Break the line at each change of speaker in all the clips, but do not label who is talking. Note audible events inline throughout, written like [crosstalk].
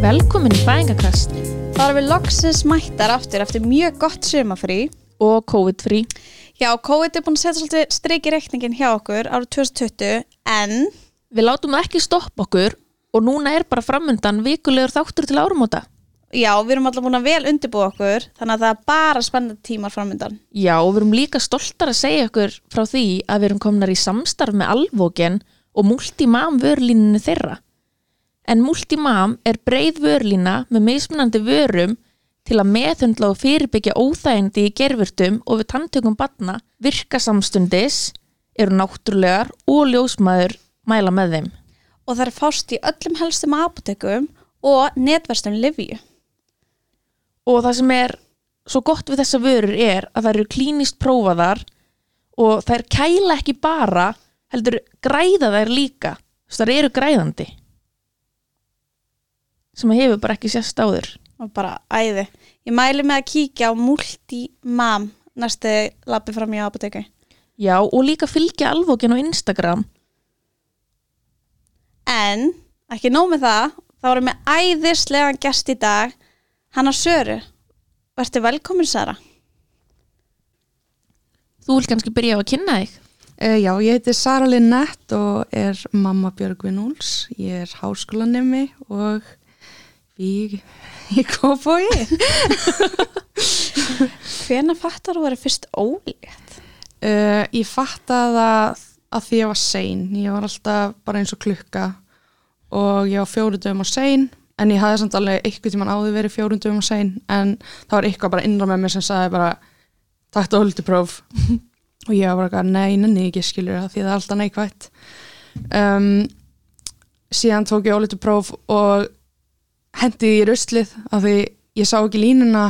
Velkomin í fæðingakast
Þá erum við loksins mættar aftur eftir mjög gott sumafrí.
og COVID-frí.
Já, COVID er búin að setja svolítið streik í reikningin hjá okkur árið 2020, en
Við látum það ekki stoppa okkur og núna er bara framundan vikulegur þáttur til árumóta.
já, við erum alltaf búin að vel undirbúa okkur, þannig að það er bara spennandi tímar framöndan.
Já, og við erum líka stoltar að segja okkur frá því að við erum komnar í samstarf með Alvógen og Multimam vörlíninu þeirra. En Multimam er breið vörlína með mismunandi vörum til að meðhundla og fyrirbyggja óþægindi í gerfurtum og við tanntökum batna virka samstundis, eru náttúrulegar og ljósmaður mæla með þeim.
Og það er fást í öllum helstum apotekum og netverstum Livju.
og það sem er svo gott við þessa vörur er að það eru klínist prófaðar og þær kæla ekki bara heldur græða þær líka þess þær eru græðandi sem hefur bara ekki sérst áður
Og bara æði. Ég mæli með að kíkja á Multimam næstu lappi fram í apoteku.
já og líka fylgja alvókin á Instagram
En, ekki nóg með það, þá erum við æðislegan gest í dag, Hanna Söru. Vertu velkomin, Sara.
þú vil kannski byrja á að kynna þig
Uh, já, ég heiti Sara Linnett og er mamma Björgvin Úls. Ég er háskólanemi og við í Kópói.
Hvena fattar þú að vera fyrst ólétt?
Uh, ég fattaði að, að því ég var sein. Ég var alltaf bara eins og klukka og ég var fjórundum og sein en ég hafði samt alveg eitthvað tíman áður verið fjórundum og sein en það var eitthvað bara innra með mér sem sagði bara takt og höldupróf [laughs] og ég var bara eitthvað, nei, nenni ekki skilur það því það er alltaf neikvætt um, síðan tók ég ólítið próf og hendi því í ruslið af því ég sá ekki línuna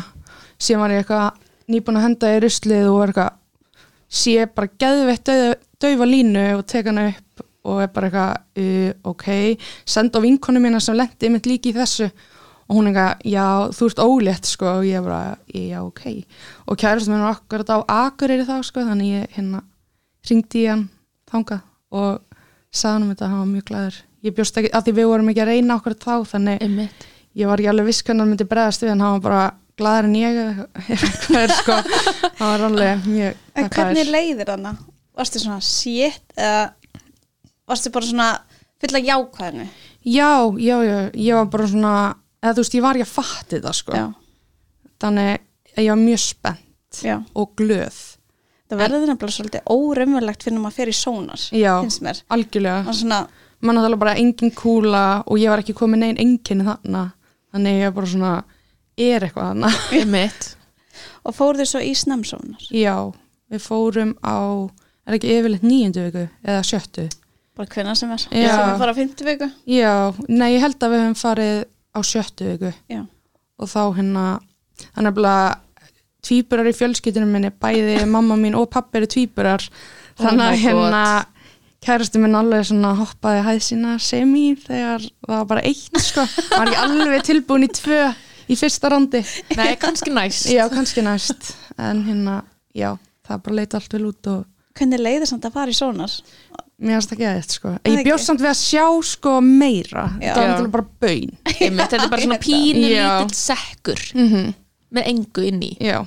síðan var ég eitthvað nýbúin að henda í ruslið og var eitthvað sé bara geðveitt dauða- daufa línu og tek hana upp og er bara eitthvað uh, ok, senda á vinkonu mína sem lendi mitt líki í þessu og hún eitthvað, já, þú ert ólétt sko, og ég bara, já, ok og kærastum minn var akkurat á Akureyri þá sko, þannig ég hérna ringdi í hann þangað og sagði hann um þetta, hann var mjög glæður ég bjóst ekki, að því við vorum ekki að reyna akkurat þá þannig
Einmitt.
ég var ekki alveg viss hvernig hann myndi bregðast við en hann var bara glæður en ég eða eitthvað er sko, hann var alveg mjög
En
þakklár.
hvernig leiðir þarna? Varstu svona shit? Eða varstu bara svona fulla jákvæðinu?
Já, já, já, ég var bara svona eða þú veist, ég var ekki að fatti það sko þannig að ég var mjög spennt
Já.
og glöð,
Það verður nefnilega svolítið órumverlegt fyrir maður fyrir sónar,
Já.
finnst mér.
algjörlega
Og svona,
mann að tala bara engin kúla og ég var ekki komin einn enginn þarna þannig ég var bara svona, er eitthvað þarna [laughs]
Einmitt.
og fór þau svo í snemsónar.
Já, við fórum á er ekki yfirleitt nýjöndu viku eða sjöttu
Bara hvenna sem er.
Já.
Sem fór á fymtu viku.
Já, nei, ég held að við höfum farið á sjöttu viku
Já.
og þá hérna hann er bara tvíburar í fjölskyldunum minni bæði mamma mín og pappi eru tvíburar þannig að
my God.
hérna kærastu minn alveg svona hoppaði hæð sína semi þegar það var bara eitt sko, hann var ekki alveg tilbúin í tvö í fyrsta randi
Nei, kannski næst
já, kannski næst en hérna, já, það bara leita allt vel út og
Hvernig leiðir samt að fara í sónar?
mér finnst það ekki aðeitt sko
Það
ég
ekki.
bjóst samt við að sjá sko meira
Já.
það var náttúrulega bara bön
Einmitt. þetta er bara svona pínu
Já.
lítill sekkur
mm
með engu inn í
já,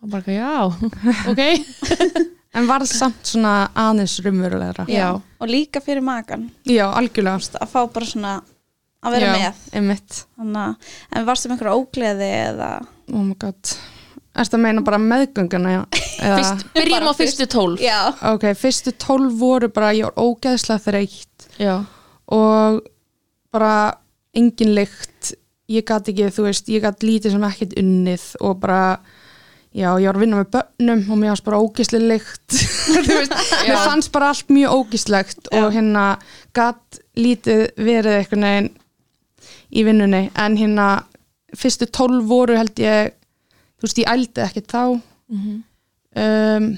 og bara, já, ok
en varð samt svona aðeins rumverulegra
Já.
Og líka fyrir makan.
já, algjörlega
Þú veist, að fá bara svona að vera
já,
með
einmitt
Þannig, að- en varstu með einhverja ógleði eða
oh my god Erstu að meina bara meðgönguna?
[laughs]
já? Eða,
Fyrst, byrjum
Bara
á fyrstu tólf
já,
Ok, fyrstu tólf voru bara, ég var ógeðslega þreytt
Já.
og bara engin lykt, ég gat ekki, þú veist, ég gat lítið sem ekkert unnið og bara, já, ég var að vinna með börnum og mér fannst bara ógeðslega lykt, [laughs] þú veist, mér fannst bara allt mjög ógeðslegt og hérna gat lítið verið einhvern veginn í vinnunni en hérna fyrstu tólf voru held ég þú veist ég ældi ekkert þá
Mhm.
um,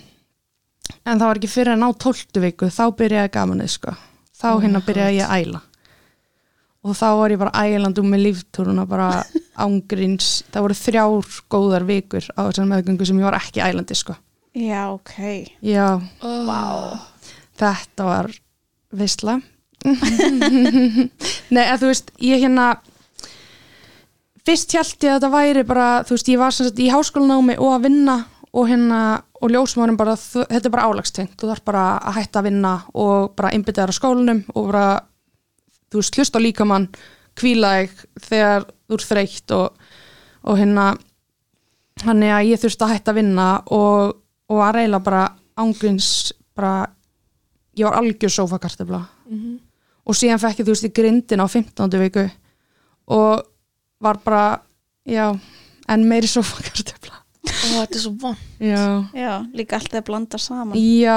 en það var ekki fyrir að ná tóltu viku þá byrjaði gamanið sko þá hérna byrjaði ég að æla og þá var ég bara ælandu með líftúruna bara ángrins það voru þrjár góðar vikur á þessar meðgöngu sem ég var ekki ælandi sko
já, ok
já,
Oh.
þetta var [laughs] visla Nei, að þú veist, ég hérna fyrst hjælt ég að þetta væri bara, þú veist, ég var sem sagt í háskólanámi og að vinna og hérna og ljósmórin bara, þ- þetta er bara álagstengt þú þarf bara að hætta að vinna og bara einbytta þér á skólanum og bara þú veist, hlusta á líkamann hvíla þig þegar þú ert þreytt og, og hérna þannig að ég þurfti að hætta að vinna og, og var eiginlega bara ángrins bara, ég var algjör sófakartabla Mhm. og síðan fekk ég þú veist í grindin á 15. viku og var bara, já en meiri sófakartabla
Ó, þetta er svo von
já
Já, líka alltaf að blanda saman.
Já,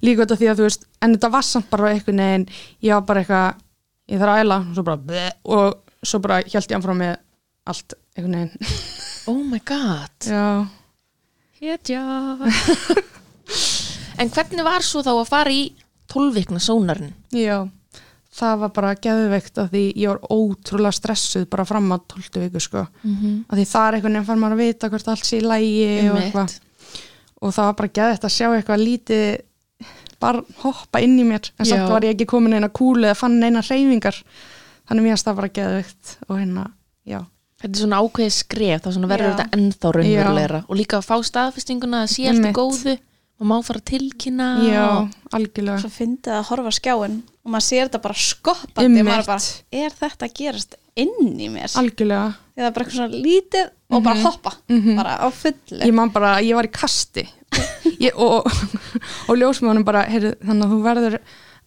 líka þetta því að þú veist en þetta var samt bara eitthvað neginn ég var bara eitthvað, ég þarf að æla og svo bara, bleh, og svo bara hjælt ég anfram með allt eitthvað neginn
Oh my god
Já,
Hétja En hvernig var svo þá að fara í 12 vikna sónarinn?
já það var bara geðveikt að því ég var ótrúlega stressuð bara fram að 12 viku sko,
Mm -hmm.
að því þar eitthvað neginn fær maður að vita hvort allt sé í lægi og eitthvað og það var bara geðveikt að sjá eitthvað lítið bara hoppa inn í mér en samt
Já.
var ég ekki komin eina kúlu eða fann eina hreyfingar þannig mér að það bara geðveikt og hérna, já
Þetta er svona ákveðið skref þá svona verður
Já.
þetta ennþá raunverulegra og líka að fá staðfestinguna að sé allt í
Einmitt.
góðu og má fara að tilkynna
Já,
og-
algjörlega.
Svo fyndið að horfa á skjáin og maður sér þetta bara skoppandi og maður
Einmitt.
bara, er þetta að gerast inn í mér?
Algjörlega.
Þegar það er bara eitthvað svona lítið og bara hoppa, bara á fullu.
Mhm. Ég man bara, ég var í [laughs] kasti ég, og, og, og ljósmaðunum bara, heyrðu, þannig að þú verður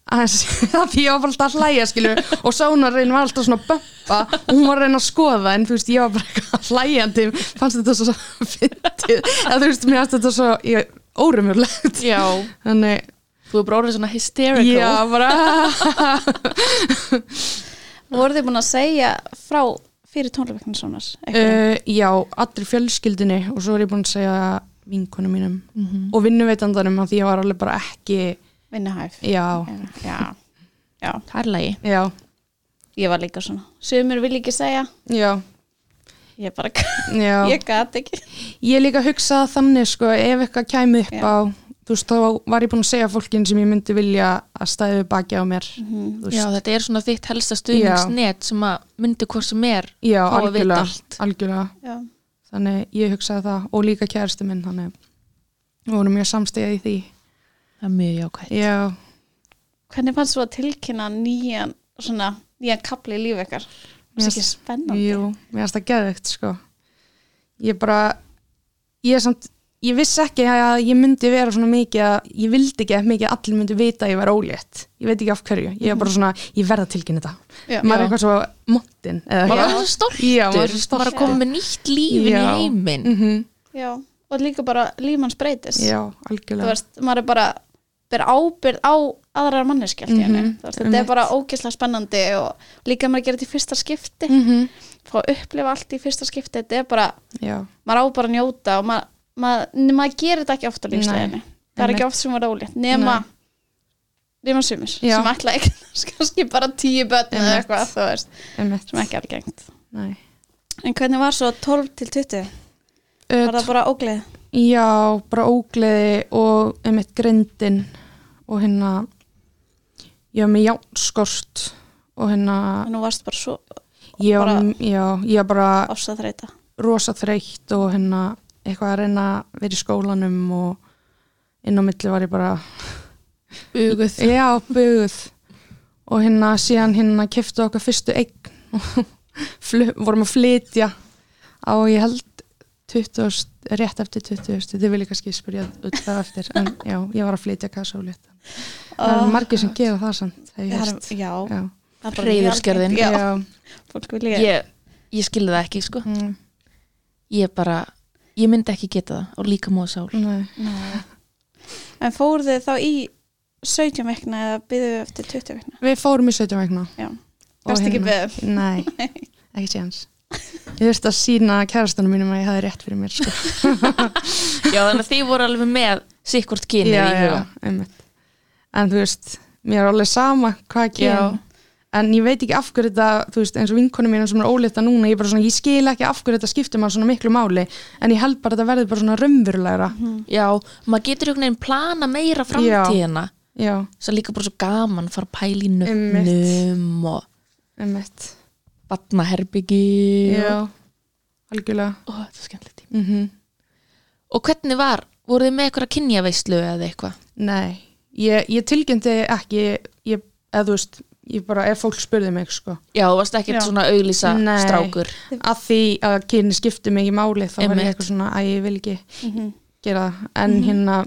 aðeins, [laughs] það því ég var bara alltaf að hlæja, skilju, og sónarinn var alltaf svona að bömpa og hún var að reyna að skoða, en þú veist, ég var bara eitthvað hlæjandi, fannst þetta svo fyndið, að þú veist, mér fannst þetta svo ég, órumurlegt.
Já,
Þannig,
þú er bara orðið svona hysterical
já, [laughs] bara,
Voruð þið búin að segja frá fyrir tónleikveikna svona?
Uh, já, allir fjölskyldinni og svo er ég búin að segja vinkunum mínum
Mhm.
og vinnuveitandanum að því ég var alveg bara ekki
Vinnuhæf.
já,
Já. Já. Já,
Það er lagi
já,
ég var líka svona. Sumur vil ekki segja,
já,
ég bara,
já.
[laughs] ég gat ekki.
Ég líka hugsaði þannig sko ef eitthvað kæmi upp
Já.
á þú veist þá var ég búin að segja fólkin sem ég myndi vilja að stæðu baki á mér þú veist,
Já, þetta er svona þitt helsta stuðningsnet sem að myndi hvort sem er
já
Fá að vita
algjörlega,
allt.
algjörlega
Já.
þannig ég hugsaði það og líka kæristu minn þannig við vorum mjög samstegið í því
Það er mjög jákvæmt
já,
Hvernig fannst þú að tilkynna nýjan, svona, nýjan kapli í lífi ykkar? Það er ekki
Yes.
spennandi.
Jú, mér finnst það geðveikt sko. Ég bara ég, er samt, ég vissi ekki að ég myndi vera svona mikið að ég vildi ekki að mikið að allir myndi vita að ég vera ólétt ég veit ekki af hverju, ég er bara
Mhm.
svona ég verð að tilkynna þetta,
Já.
maður er eitthvað svo montin
Maður
eða eitthvað
er svo stoltur,
Já, maður er svo
maður er að
stoltur.
koma með nýtt lífin í
Já.
heiminn
mm
Já, og líka bara lífmanns breytist.
Já,
Þú
algjörlega
veist, maður er bara, ber ábyrð á aðrar manneskjalt mm
Mhm,
-hmm. veist, þetta er
einmitt.
bara ógeðslega spennandi og líka maður að gera þetta í fyrsta skipti
mm
fá að upplifa allt í fyrsta skipti þetta er bara,
Já,
maður á bara að njóta og maður, maður, maður gerir þetta ekki oft á lífstæðinni, það er
einmitt.
ekki oft sem var ólétt nema
Nei.
nema sumir,
Já.
sem ætla ekki [laughs] kannski bara tíu börn eða
Einmitt.
eitthvað þú veist,
einmitt
sem er ekki algengt
Nei.
en hvernig var svo 12 til 20?
Uh,
Var það bara ógleð?
Já, bara ógleði og einmitt grindin og hérna ég var með jánskort og hérna
Nú varst bara svo
ég var,
bara-
já, ég var bara
ástæðreita
rosa þreytt og hérna eitthvað að reyna að vera í skólanum og inn á milli var ég bara
Uguð
[laughs] já, bugð og hérna síðan hérna keftu okkar fyrstu eign [laughs] og flu, vorum að flytja á ég held 20, rétt eftir 20 þið vilja kannski spyrja út það eftir en já, ég var að flytja kassa og leta það
Oh.
er margir sem gera það samt hef ég
Já,
heyrt.
já,
já,
það er bara
Hreiðursgerðin.
mjög algengt. Já,
já.
fólk vil ég
Ég, ég skilði það ekki, sko
Mm,
Ég bara, ég myndi ekki geta það og líka móða sál
nei.
Nei. En fóruð þið þá í 17 vikna eða byggðu við eftir 20 vikna?
við fórum í 17 vegna
Já.
Og
Gast ekki
hérna-
beðið.
Nei, ekki séans. Ég þurfti að sína kærastanum mínum að ég hafi rétt fyrir mér. Sko.
[laughs] Já, þannig að þið voru alveg með sikkvort kynið í huga
einmitt. En þú veist, mér er alveg sama hvað ekki.
Já.
En ég veit ekki af hverju þetta, þú veist, eins og vinkonu mínum sem er óleita núna, ég, er bara svona, ég skil ekki af hverju þetta skiptir maður svona miklu máli, en ég held bara að þetta verði bara svona raunverulegra.
Já, maður getur einhvern veginn plana meira framtíðina
Já,
Svo líka bara svo gaman, fara að pæla í
Einmitt.
nöfnum og
einmitt.
batnaherbyggi
Já, algjörlega
Ó, þetta er skemmtilegt tíma.
mm
Og hvernig var, voruð þið með eitthvað kynjaveislu eða eitthvað?
Nei, ég, ég tilgjöndi ekki ég, eða þú veist, ég bara ef fólk spurði mig sko
Já, þú varst ekkert
Já.
svona auglýsa
Nei.
strákur.
að því að kyni skipti mig í máli þá var ég
Einmitt. Mhm.
eitthvað svona að ég vil ekki
Mhm.
gera það en hérna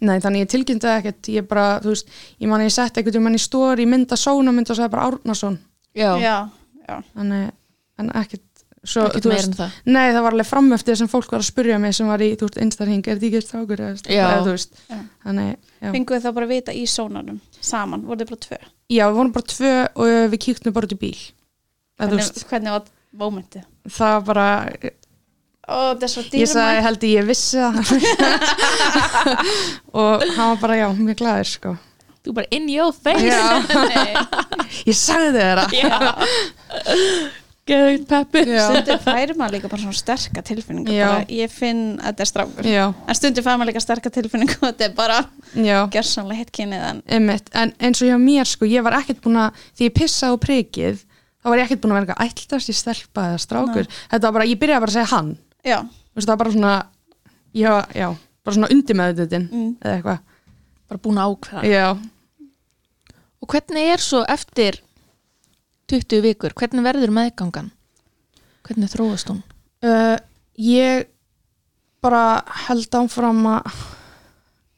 nei þannig ég tilkynnti það ekkert ég bara þú veist ég man að ég sett eitthvað um henni stóri mynda sóna mynda og sagði bara Árnason
Já,
já, já.
þannig en ekkert svo
ekkert
þú
meira
veist
en það.
nei það var alveg fram eftir sem fólk var að spurja mig sem var í þú veist einstarhing er því ekki strákur eða stelpa?"
Já.
eða þú veist
Já.
þannig já.
Fenguðu þá bara að vita í sónanum saman, voru þið bara tvö
já við vorum bara tvö og við kíktum bara út í bíl eða þú
hvernig,
veist
hvernig var mómentið
það var bara
Ó, þetta er svo
ég sagði
dýrmætt
held ég, ég vissi það [laughs] og hann var bara já, mjög glæður sko
Þú bara in your face.
já,
[laughs]
ég sagði þér það
Geðið peppi.
já,
Stundum færi maður líka bara svona sterka tilfinningu
Já.
bara, Ég finn að þetta er strákur
já,
En stundum færi maður líka sterka tilfinningu og Þetta er bara
já
gersamlega hitt kynið en
einmitt, en eins og hjá mér sko ég var ekkert búin að, því ég pissaði á prikið þá var ég ekkert búin að vera eitthvað ætlast ég stelpa eða strákur, þetta var bara ég byrjaði bara að segja hann,
Já,
Þú veist, það var bara svona já, já, bara svona undir með þetta
Mm.
eða eitthvað,
Bara búin að ákveða.
já
Og hvernig er svo eftir 20 vikur, hvernig verður meðgangan? Hvernig þróast hún?
Uh, ég bara held áfram að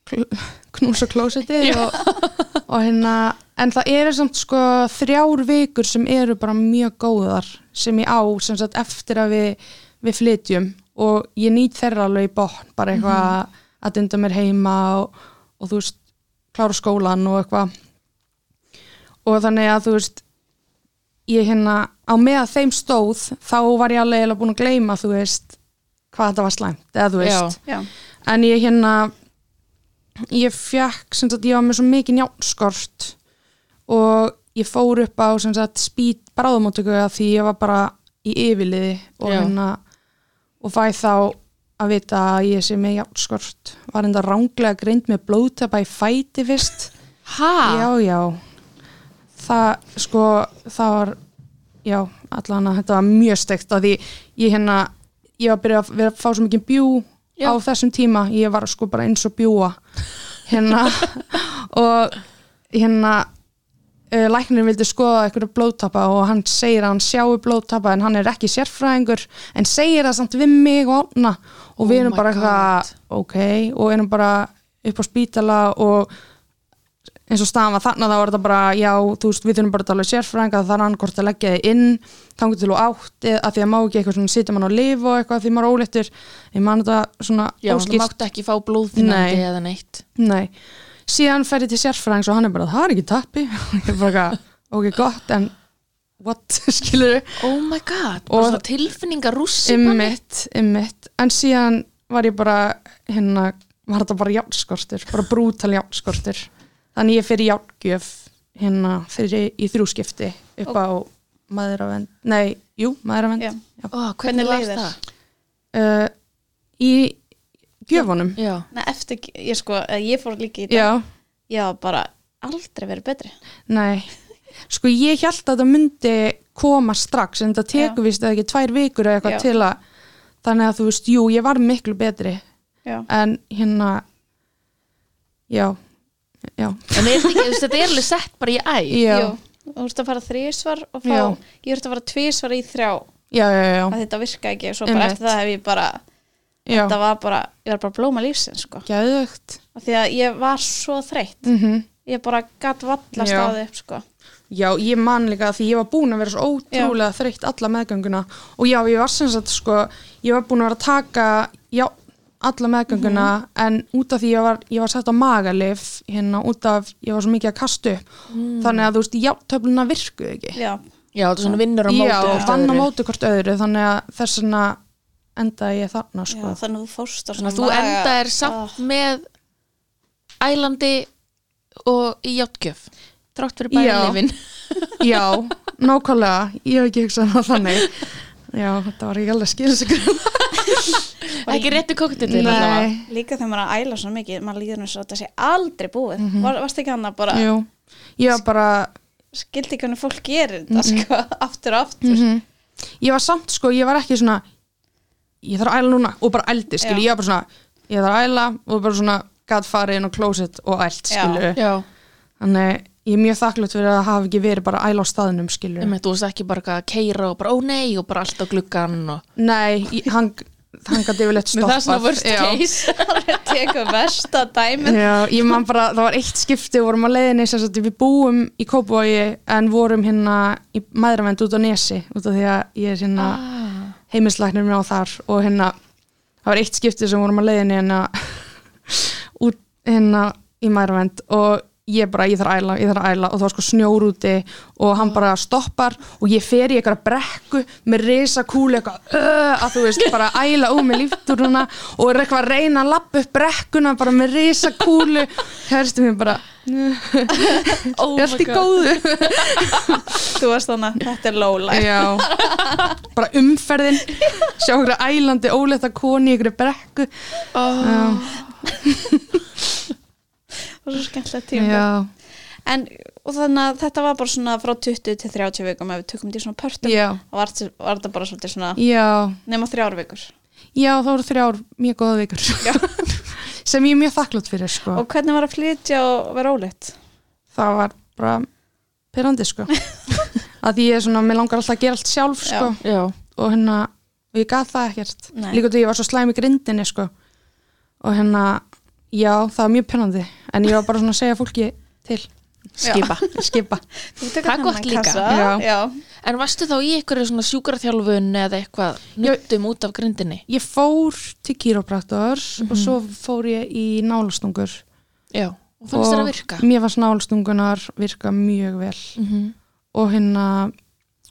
kl- knúsa klósiti og, og hérna en það eru samt sko þrjár vikur sem eru bara mjög góðar sem ég á sem sagt eftir að við, við flytjum og ég nýt þeirra alveg í botn bara eitthvað að dynda mér heima og, og þú veist klára skólan og eitthvað og þannig að þú veist ég hérna á með að þeim stóð þá var ég alveg eiginlega búin að gleyma þú veist hvað þetta var slæmt eða þú veist
já,
en ég hérna ég fekk sem sagt ég var með svo mikið njánskort og ég fór upp á sem sagt spýt bráðumóttöku að því ég var bara í yfirliði og
Já.
hérna og fæ þá að vita að ég sé með játskort var enda ránglega greind með blóðtapa í fæti fyrst
Ha?
Já, já Það, sko, það var já, allan að þetta var mjög steikt að því ég hérna ég var byrjað að vera að fá svo mikið bjú
Já.
á þessum tíma, ég var sko bara eins og bjúa
[laughs]
hérna og hérna uh, læknirinn vildi skoða einhverju blóðtappa og hann segir að hann sjáu blóðtappa en hann er ekki sérfræðingur en segir það samt við mig og onna og
Oh
við erum
my
bara eitthvað, ok og erum bara upp á spítala og eins og staðan var þarna þá var þetta bara já, þú veist, við þurfum bara að tala við sérfræðinga það er annarkort að leggja þig inn þangur til og átt eða af því að má ekki eitthvað svona sitja mann á lif og eitthvað af því maður er óléttur ég man þetta svona
Já, þú
óskýrt
mátt ekki fá blóðþínandi
Nei.
eða neitt.
Nei, síðan fer ég til sérfræðings og hann er bara, það er ekki tappi [laughs] ég er bara, eitthvað, ok, gott, en what, [laughs] skilur
Oh my god,
Og-
bara svona tilfinningar rússi
Ymmit, ymmit En síðan var ég bara hérna, var þetta bara játskortir bara brútal játskortir Þannig ég fyrir játgjöf hérna fyrir í þrjúskipti upp á maðuravend, nei, jú, maðuravend
já.
Ó,
Hvernig
hvernig var
leið þér?
það?
uh, í gjöfunum
Já,
Nei, eftir, ég sko, eh, ég fór líka í þetta
Já,
Ég var bara aldrei verið betri
nei Sko ég held að það myndi koma strax en það tekur víst eða ekki tvær vikur eða
Já.
eitthvað til að þannig að þú veist, jú, ég var miklu betri
Já,
en hérna já, já,
en er þetta ekki, þú veist, þetta er alveg sett bara í æg
já,
Jú, þú ert að fara þrísvar og fá,
Já.
ég ert að fara tvísvar í þrjá
já, já, já,
að þetta virka ekki og svo bara
Einmitt.
eftir það hef ég bara
já,
þetta var bara, ég var bara blóma lífsinn sko.
geðugt
af því að ég var svo þreytt
mm
ég bara gatt valla
Já.
stáði upp sko.
já, ég man líka að því ég var búin að vera svo ótrúlega þreytt alla meðgönguna og já, ég var sem sagt sko ég var búin að vera að taka já, alla meðgönguna
Mhm.
en út af því ég var, ég var sett á magalif hérna út af, ég var svo mikið að kastu upp
Mm.
þannig að þú veist, já, töfluna virkuð ekki
já,
Já, þetta er svona vinnur á móti
já,
hvert
vann á
öðru.
móti hvort öðru þannig að þess vegna endaði ég þarna
já,
sko
þannig að þú fórst á
Þannig að þú
svona maga-
enda er samt
Ah,
með ælandi og í játgjöf Trátt fyrir bæði
Já.
lifin
Já, nákvæmlega, ég hef ekki hugsað um það þannig Já, þetta var ekki alveg skilsegur
Ekki réttu koktið Nei
líka þegar maður er að æla svo mikið maður líður eins og þetta sé aldrei búið mm Var, varst ekki hann að bara,
Mhm. Jú, ég var bara
skildi hvernig fólk gerir þetta sko, aftur og aftur
mhm. ég var samt sko, ég var ekki svona ég þarf að æla núna og bara ældi skilji,
Já.
ég var bara svona, ég þarf að æla og bara svona gat farið inn á klósett og ælt
Já.
skilju,
Já,
þannig ég er mjög þakklátt fyrir að hafa ekki verið bara að æla á staðnum skilju,
um, þú veist ekki bara eitthvað að keira og bara ó nei og bara allt á gluggan og
nei ég- hann, hann gæti yfirleitt
Mér
stoppað
það er svona worst
Já.
[laughs]
case
Alveg tekur versta dæmin
Já, ég man bara, það var eitt skipti við vorum á leiðinni, sem sagt við búum í Kópavogi en vorum hérna í maðuravend út á Nesi, út af því að ég er hérna
Ah.
heimilislæknir mér á þar og hérna, það var eitt skipti sem vorum á leiðinni hérna [laughs] út hérna í maðuravend og ég bara, ég þarf að æla, ég þarf að æla og það var sko snjór úti og hann bara stoppar og ég fer í eitthvað brekku með risa kúli eitthvað uh, að þú veist, bara að æla úr með líftúruna og er eitthvað að reyna að lappa upp brekkuna bara með risa kúli hérstu mér bara,
oh
er allt í góðu
Þú varst þannig, þetta er lóla
Já, bara umferðin sjá okkur ælandi óleita koni í ykkur brekku
[laughs]
oh.
Það var svo skemmtilegt tíma
Já,
En og þannig að þetta var bara svona frá 20 til 30 vikum ef við tökum því svona pörtum
já,
og var, var þetta bara svolítið svona
já
nema þrjár vikur
Já, það voru þrjár mjög góða vikur [laughs] sem ég er mjög þakklátt fyrir sko.
og hvernig var að flytja og vera óleitt
það var bara pyrrandi
[laughs]
sko. að því ég er svona, mér langar alltaf að gera allt sjálf
Já.
sko.
Já,
og hérna, og ég gaf það ekkert
Nei.
líka því ég var svo slæm í grindinni sko. og hérna, já, það var mjög pyrrandi en ég var bara svona að segja fólki til
skipa
skipa
það
Það er gott líka.
já.
Já.
Já.
En varstu þá í einhverju svona sjúkraþjálfun eða eitthvað nuttum út af grindinni?
ég fór til kýrópraktor og
Mhm.
svo fór ég í nálastungur
Já, og fannst þér að virka? Mhm.
mér fannst nálastungunar virka mjög vel og hérna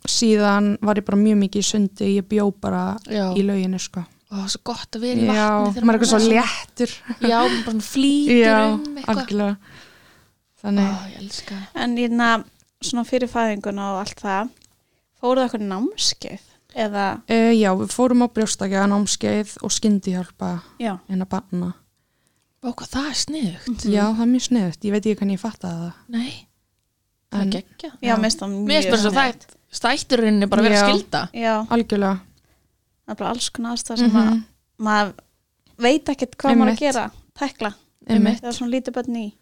síðan var ég bara mjög mikið í sundi ég bjó bara
Já.
í lauginu sko.
Ó, það er svo gott að vera í vatni
já,
þegar
maður er eitthvað svo
er-
léttur
Já, maður bara flýtur
já,
um eitthvað Ah.
algjörlega
Ó,
þannig,
ég elska það
en hérna svona fyrir fæðinguna og allt það fóruðu eitthvað námskeið eða
uh, já, við fórum á brjóstakja námskeið og skyndihjálpa
já,
en að banna,
Ó, hvað það er sniðugt
Mhm.
já, það er mjög sniðut ég veit ekki hvernig ég fatt að það
Nei, það er
En-
geggja
já, minnst það
Mér
mjög
finnst bara svo
sniðugt.
það stætturinni bara að vera
Já.
skilda
já,
algjörlega
það er bara alls konar aðstæð sem
Mhm.
að maður veit ekkert hvað maður
Einmitt.
að gera tekla,
Einmitt.
það er svona lítið bönni í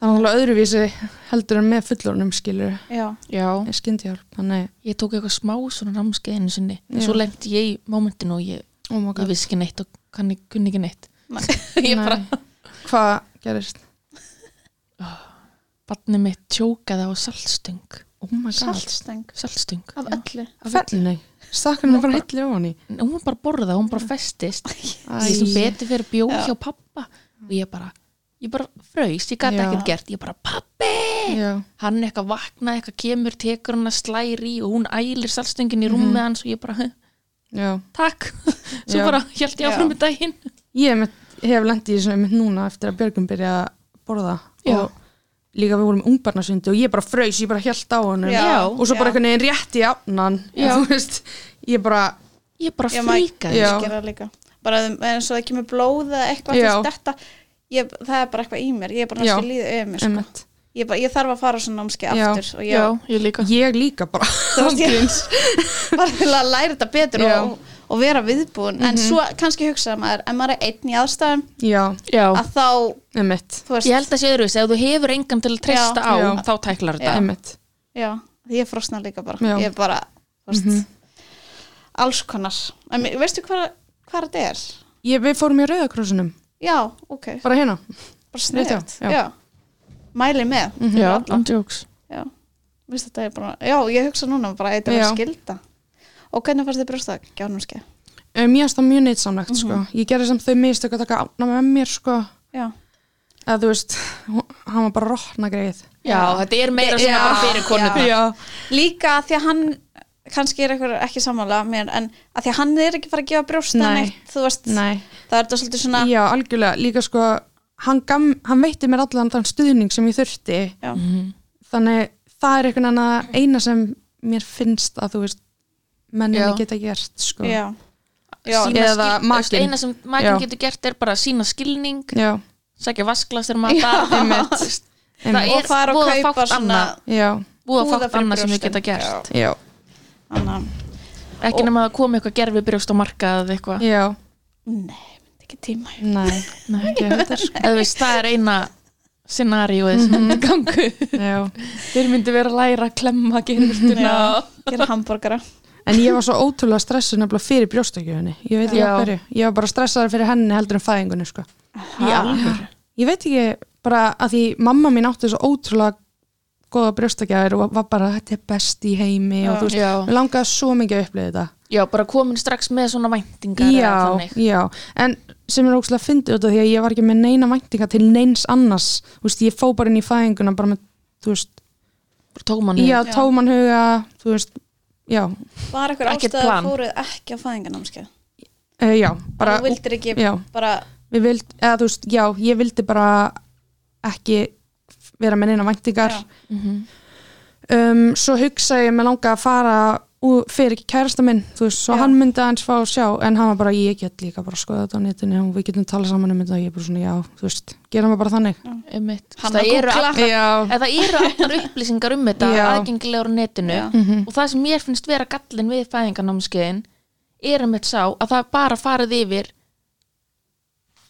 Það er náttúrulega öðruvísi heldur en með fullornum skilur
já,
Já,
er skyndihjálp, þannig
ég tók eitthvað smá svona námskeið einu sinni en
Já.
svo lendi ég í mómentinu og ég,
oh my
ég
god,
vissi ekki neitt og kann, kunni ekki neitt
Nei.
ég bara,
Nei. hvað gerist?
barnið mitt tjókaði á saltstöng
Oh my
saltstöng
saltstöng,
af
já.
öllu
god Fellinu, stakkurinn er bara hillir ofan í
En hún var bara borða, hún bara festist ég sem
Æ,
beti fyrir bjóð
Já.
hjá pappa og ég bara, ég bara fraus ég gæti
Já.
ekkert gert, ég bara pappi
já,
hann eitthvað vaknaði, eitthvað kemur, tekur hann að slæri og hún ælir saltstöngin í rúmið hans og ég bara, "Huh,
já [laughs]
takk svo
Mhm. Já.
bara held ég áfram
Já.
með daginn
Ég einmitt hef lendið í þessu einmitt núna eftir að Björgum byrja að borða
Já.
og líka við vorum ungbarnasundi og ég bara fraus, ég bara held á honum
Já.
og svo bara
Já.
einhvern veginn rétt í afnan
Já.
þú veist, ég bara
ég bara
Já, maður-
fríkaði
Já.
gera líka bara ef- eins og það kemur blóð eða eitthvað
Já.
þess, þetta, ég, það er bara eitthvað í mér ég er bara
Já.
næstu líðið yfir mér sko.
einmitt,
ég, bara, ég þarf að fara á svona námskeið
Já.
aftur og ég
ég líka
ég líka bara
þú veist, [laughs] ég- bara til að læra þetta betur
Já. Mhm.
og, og vera viðbúin en svo kannski hugsaði maður, ef maður er einn í aðstæðum
Já,
Já.
að þá,
einmitt,
þú veist
Ég held að sé öðruvis, ef þú hefur engan til að treysta á,
Já.
þá tæklar þetta.
einmitt
já, því ég frosna líka bara
Já. Mhm.
ég er bara, þú veist alls konar, en mi- veistu hvað hvað þetta er?
ég, Við fórum í rauðakrossunum
Já, ok,
bara hérna
bara
Rétt,
sniðt
já. Mhm.
mæli með mm
Já, andjóks.
Já, Vist, þetta er bara, já, ég hugsa núna bara að þetta
Já.
verður skilda. Og hvernig fannst þið brjóstak gjánumskeið?
Um, ég finnst það mjög neittsamlegt
Mhm.
sko. ég gerði sem þau mistök að taka átna með mér sko.
Já,
eða þú veist, hún- hann var bara rotna greið
Já, þetta er meira svona
Já.
bara fyrir konurnar.
já,
líka að því að hann, kannski er eitthvað ekki sammála mér, en að því að hann er ekki fara að gefa brjósta
Nei.
neitt, þú veist,
nei
það er þetta svolítið svona,
já, algjörlega, líka sko hann, gam, hann veitti mér allan þann stuðning sem ég þurfti
já,
þannig það er einhvern veginn að eina sem mér finnst að þú veist menninni
Já.
geta gert sko.
já, já,
Sýna
eða
skil-
makinn.
Eina sem makin
Já.
getur gert er bara að sína skilning,
já,
sækja vasklastir matar.
einmitt,
Það
einmitt.
og
er
fara
voða
og kaupa
fátt
svona,
annað,
já,
voða
Púða
fátt
fyrir
annað sem þau
brjóstin.
geta gert.
já
þannig, að-
ekki nema að koma eitthvað gerfi brjóst á markað eða eitthvað
já,
Nei, myndi ekki tíma
nei,
[laughs]
ekki heldur sko.
eða veist, það er eina scenaríuð sem myndi gangu
[laughs] já.
þeir myndi vera að læra að klemma gerfurtuna
Já, gera hambúrgara
en ég var svo ótrúlega stressuð nefnilega fyrir brjóstakjöfunni ég veit ekki
Já.
af hverju, ég var bara stressaður fyrir henni heldur en fæðingunni sko.
já,
ég veit ekki bara að því mamma mín átti svo ótrúlega góða brjóstakjöfur og var bara þetta er best í heimi og þú veist,
já.
mér langaði svo mikið að upplifa þetta
já, bara komin strax með svona væntingar eða
já,
þannig.
já, en sem er ógstilega fyndið út af því að ég var ekki með neina væntinga til neins annars, þú veist, ég fó bara inn í fæðinguna bara með, þú veist,
Bara tók mann
já,
hug.
Já.
tóman huga þú veist, já
Var ekkur
Ekkert
ástæða
plan.
að fóruð ekki á fæðingarnámskeið
uh, já, bara,
Þú vildir ekki
já,
bara
við vild eða þú veist, já, ég vildi bara ekki vera með neina væntingar
Já.
Mhm.
um, svo hugsa ég með langa að fara ú- fyrir ekki kærasta minn, þú veist, svo
Já.
hann myndi aðeins fá að sjá, en hann var bara, ég get líka bara skoða þetta á netinu og við getum talað saman um þetta og ég er bara svona, já, þú veist, gera mig bara þannig
Einmitt.
Hann
það
að
eru
googla.
allar
Já,
eða það eru allar upplýsingar um þetta
Já.
aðgengilegur á netinu
Já.
og það sem mér finnst vera gallin við fæðingarnámskeiðin er um þetta sá að það er bara farið yfir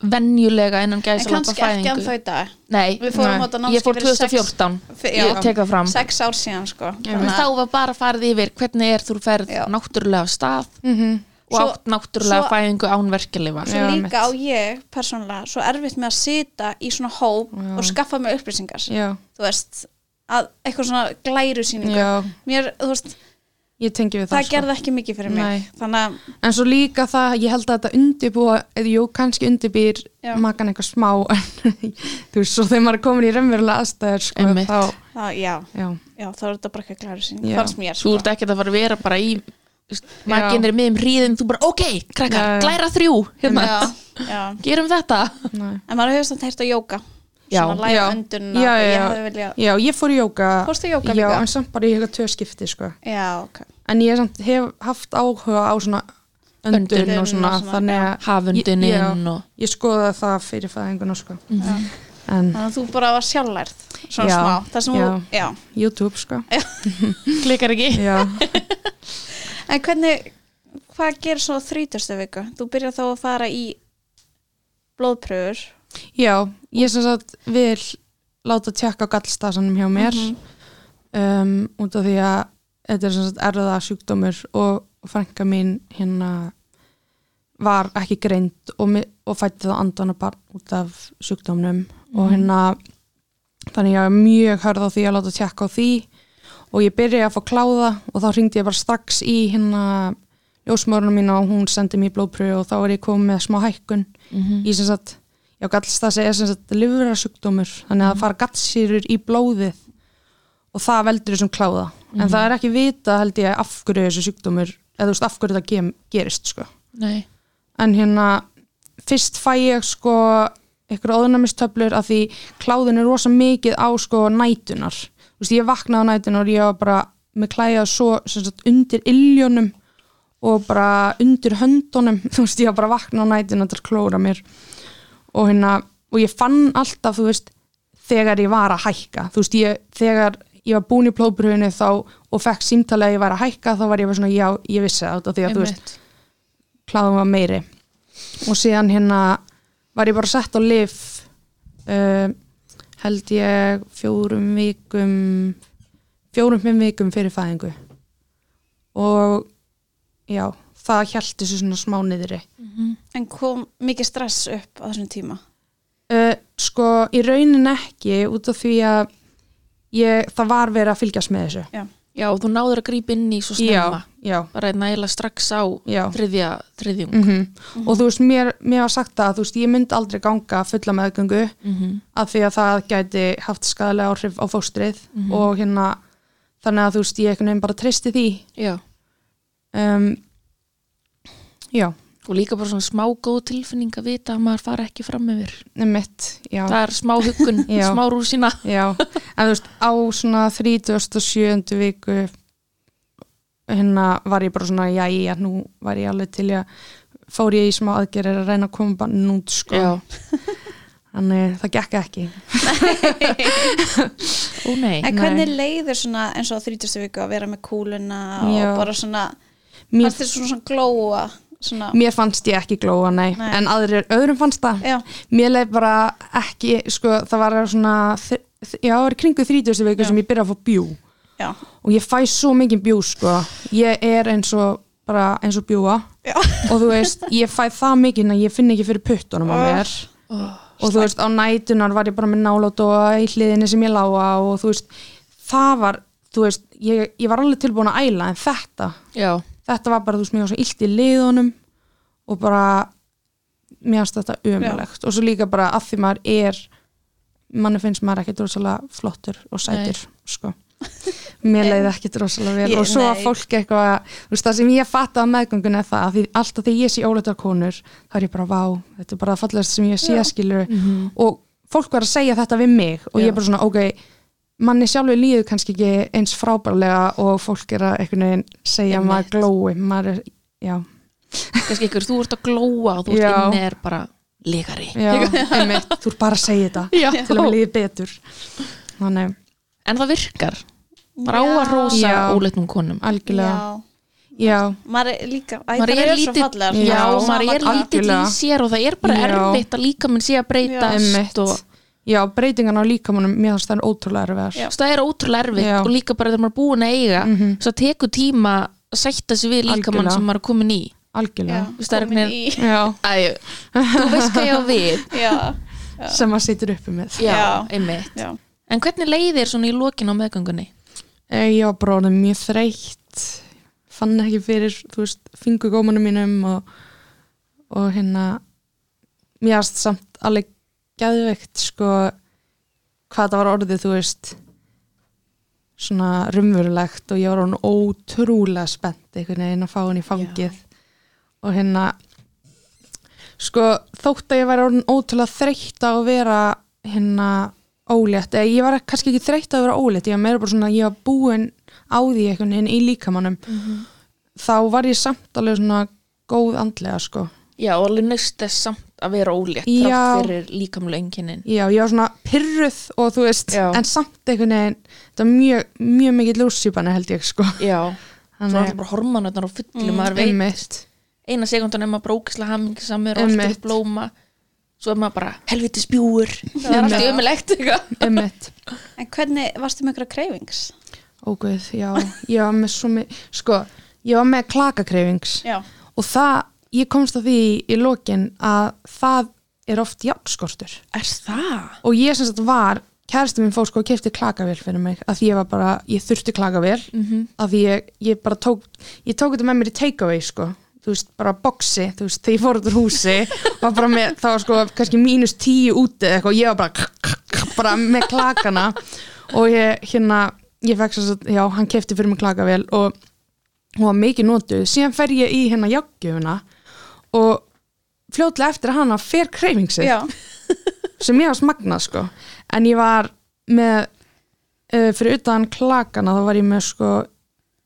venjulega innan
En
gæsa
kannski ekki ennþá í dag
Nei,
Við fórum
Nei.
á þetta
ég
námskeið
fór
fyrir sex-
2014
Fe- já.
ég tek það fram
Sex ár síðan sko
en þá var bara farið yfir hvernig er þú ferð
Já.
náttúrulega af stað
Mhm,
og
Svo-
átt náttúrulega
svo-
fæðingu án verkelifa
Svo
Já, mitt.
líka á ég persónulega svo erfitt með að sita í svona hóp og skaffa mig upplýsingar
já,
þú veist, að eitthvað svona glæru síningu
já,
Mér, þú veist,
ég tengi við það,
það gerði ekki mikið fyrir mig
Nei.
þannig að
En svo líka það, ég held að þetta undirbúa, eða jú, kannski undirbýr
Já.
makan eitthvað smá, [laughs] en þú veist, svo þegar maður er komin í raunverulega aðstæður, sko,
Einmitt.
þá,
það, já,
já,
já, þá er þetta bara ekki glæru síningu
Já.
fannst mér,
þú
sko.
ert ekki að fara að vera bara í
Já.
maður er miðum hríðin þú bara ok, krakkar,
Já.
glæra þrjú hérna,
já, já.
gerum þetta
næ.
En maður hefur samt heyrt að jóka
Já.
Svona læra öndun
já, já,
Ég
já.
hefði vilja
já, ég fór í jóka,
Fórstu í jóka
já,
líka?
en samt bara í eitthvað tvö skipti, sko,
Já, ok
en ég samt hef haft áhuga á svona öndun,
Öndun
og
og svona,
svona,
þannig að Ég- já.
hafunduninn og
ég skoða það fyrir fæðinguna, sko,
Já.
en
Þannig að þú bara var sjálflærð Svona
Já,
smá Það sem
já.
þú, já
YouTube, sko,
klikkar ekki
[laughs]
já,
En hvernig, hvað gerir svo þrítustu viku? Þú byrjar þá að fara í blóðpröfur
já, ég sem sagt vil láta tjekka á gallstasanum hjá mér, um, út af því að þetta er sem sagt erða sjúkdómur og frænka mín hérna var ekki greind og, mi- og fætti það andana bara út af sjúkdómnum og hérna þannig ég er mjög hörð á því að láta tjekka á því og ég byrjaði að fá kláða og þá hringdi ég bara strax í hérna ljósmörunum mína og hún sendi mér blóðpröfu og þá er ég komið með smá hækkun í sem sagt, já gallstasi er sem sagt livrarsjúkdómur, þannig að það fara gallsýrur í blóðið og það veldur þessum kláða, en það er ekki vita held ég af hverju þessu sjúkdómur eða þú veist af hverju það gem, gerist sko
Nei.
en hérna fyrst fæ ég sko ykkur óðunamistöflur að því kláðin er rosa mikið á sko nætunar þú veist ég vaknaði á nætunar og ég var bara með klæða svo sem sagt undir illjónum og bara undir höndunum [laughs] þú veist ég var bara að vakna á nætunar til að klóra mér og hérna og ég fann alltaf þú veist þegar ég var að hækka þú veist ég þegar ég var búin í plóðbröðinu þá og fekk símtalið að ég var að hækka þá var ég bara svona já ég vissi það út af því að þú veist
Einmitt.
kláðum var meiri og síðan hérna var ég bara sett á lif uh, held ég fjórum vikum fjórum fimm vikum fyrir fæðingu og já, það held þessu svona smá niðri
En kom mikið stress upp á þessum
[laughs]
tíma
uh, sko, í raunin ekki út af því að ég, það var verið að fylgjast með þessu
Já,
já, og þú náður að grípa inn í svo snemma
já, já
bara nægilega strax á
Já.
þriðja þriðjung
mm og þú veist, mér, mér var sagt það að þú veist, ég myndi aldrei ganga fulla meðgöngu
Mhm.
af því að það gæti haft skadalega áhrif á fóstrið
Mhm.
og hérna þannig að þú veist, ég einhvern veginn bara treysti því
já.
um, já,
og líka bara svona smá góð tilfinning að vita að maður fara ekki fram yfir
mitt já,
það er smá huggun,
[laughs] Já.
smá rúsina
já, en þú veist á svona 37. viku hérna var ég bara svona, já, já, nú var ég alveg til ég að fór ég í smá aðgerir að reyna að koma bara nút sko þannig það gekk ekki
ó nei
En
Nei.
hvernig leiður svona eins og á þrítustu viku að vera með kúluna
Já.
og bara svona
mér,
Fannst þér svona svona glóa svona,
mér fannst ég ekki glóa, nei,
Nei.
en aðrir öðrum fannst það
já,
mér leið bara ekki, sko, það var svona þ- þ- já, það var í kringu 30. viku
Já.
sem ég byrja að fá bjú
já,
og ég fæ svo mikið bjú, sko ég er eins og, bara eins og bjúa
já
og þú veist, ég fæ það mikið að ég finn ekki fyrir puttunum á
Ah,
mér og þú veist, á nætunar var ég bara með nálót og í hliðinni sem ég lága og þú veist, það var þú veist, ég, ég var alveg tilbúin að æla en þetta,
já,
þetta var bara þú veist, mér var svo illt í liðunum og bara mér fannst þetta umlegt og svo líka bara að því maður er manni finnst maður ekkit rosalega flottur og sætur sko. mér leiði ekkit rosalega vel
Ég-
og svo að
nei.
fólk eitthvað þú veist, það sem ég fatta á meðgöngun er það að því, alltaf þegar ég sé óleittar konur þá er ég bara vá, þetta er bara það fallegast sem ég sé
Já. Mhm.
skilur og fólk var að segja þetta við mig og ég
Já.
er bara svona ok manni sjálfur líður kannski ekki eins frábærlega og fólk er að einhvern veginn segja að maður
Einmitt.
glói maður er, já,
kannski ykkur, þú ert að glóa og þú ert
Já.
inni er bara líkari
já einmitt, þú er bara að segja þetta
Já.
til að maður líður betur þannig,
en það virkar, bara á að rosa
Já.
óleitnum konum
algjörlega
já,
já,
maður er líka æ,
Maður
það
er
eru
lítið-
svo fallegar
já,
Já,
svona
maður er
saman-
lítill í
algjörlega.
sér og það er bara
Já.
erfitt að líka minn sé að
Einmitt.
breytast og
já, breytingan á líkamunum mér þarst það er
Já.
ótrúlega erfiðar
Svo það er ótrúlega erfitt
Já. Mhm.
og líka bara þegar maður er búin að eiga mm -hmm. svo það tekur tíma að sætta sig við líkamann
Algjörlega.
sem maður er komin í
algjörlega
Þú veist, það er
komin
einhvern
í-
já.
Æ, þú veist hvað ég á [laughs] við
[laughs] já,
sem maður situr uppi með
Já,
Já.
einmitt
já,
En hvernig leiðir svona í lokin á meðgöngunni?
Eh, ég var bara orðin mjög þreytt fann ekki fyrir, þú veist, fingugómanum mínum og, og hérna mér varst samt alveg geðveikt sko hvað það var orðið, þú veist svona rumverulegt og ég var orðin ótrúlega spennt einhvern veginn að fá henni í fangið og hérna sko þótt að ég væri orðin ótrúlega þreytt á að vera hérna ólétt, eða ég var kannski ekki þreytt á að vera ólétt, ég var meira bara svona ég var búin á því einhvern veginn í líkamannum þá var ég samt alveg svona góð andlega sko
Já, og alveg nöst er samt að vera ólétt
Já.
þrátt fyrir líkamlu enginin
já, ég var svona pyrruð og þú veist
Já.
en samt einhvern veginn, þetta var mjög mjög mikið lúsjúbana held ég sko
Já, svo er
Þannig-
það bara hormonarnar á fullu maður veit
einmitt,
eina sekundan er maður brókislega hamingisamur og allt er
Einmitt.
að blóma svo er maður bara helviti spjúur það er allt í umilegt
einmitt
en hvernig varstu með einhverja kreyfings?
óguð, já, ég var með svo mið sko, ég var með klakakreyfings
já,
og það, ég komst að því í lokin að það er oft járnskortur
Er það?
og ég sem sagt var kæristu minn fór sko og kefti klakavél fyrir mig að því ég var bara, ég þurfti klakavél mm
Mhm.
-hmm. að því ég, ég bara tók ég tók þetta með mér í takeaway sko þú veist, bara boxi, þú veist, þegar ég fór út úr húsi var bara með, það var sko kannski mínus tíu úti eða eitthvað, og ég var bara bara með klakana og ég, hérna, ég fekk sem sagt, já, hann kefti fyrir mig klakavél og hún var mikið notuð, síðan fer ég í hérna jággjöfuna og fljótlega eftir hana fer kreyfingsið
já,
sem ég var smagnað sko en ég var með uh, fyrir utan klakana þá var ég með sko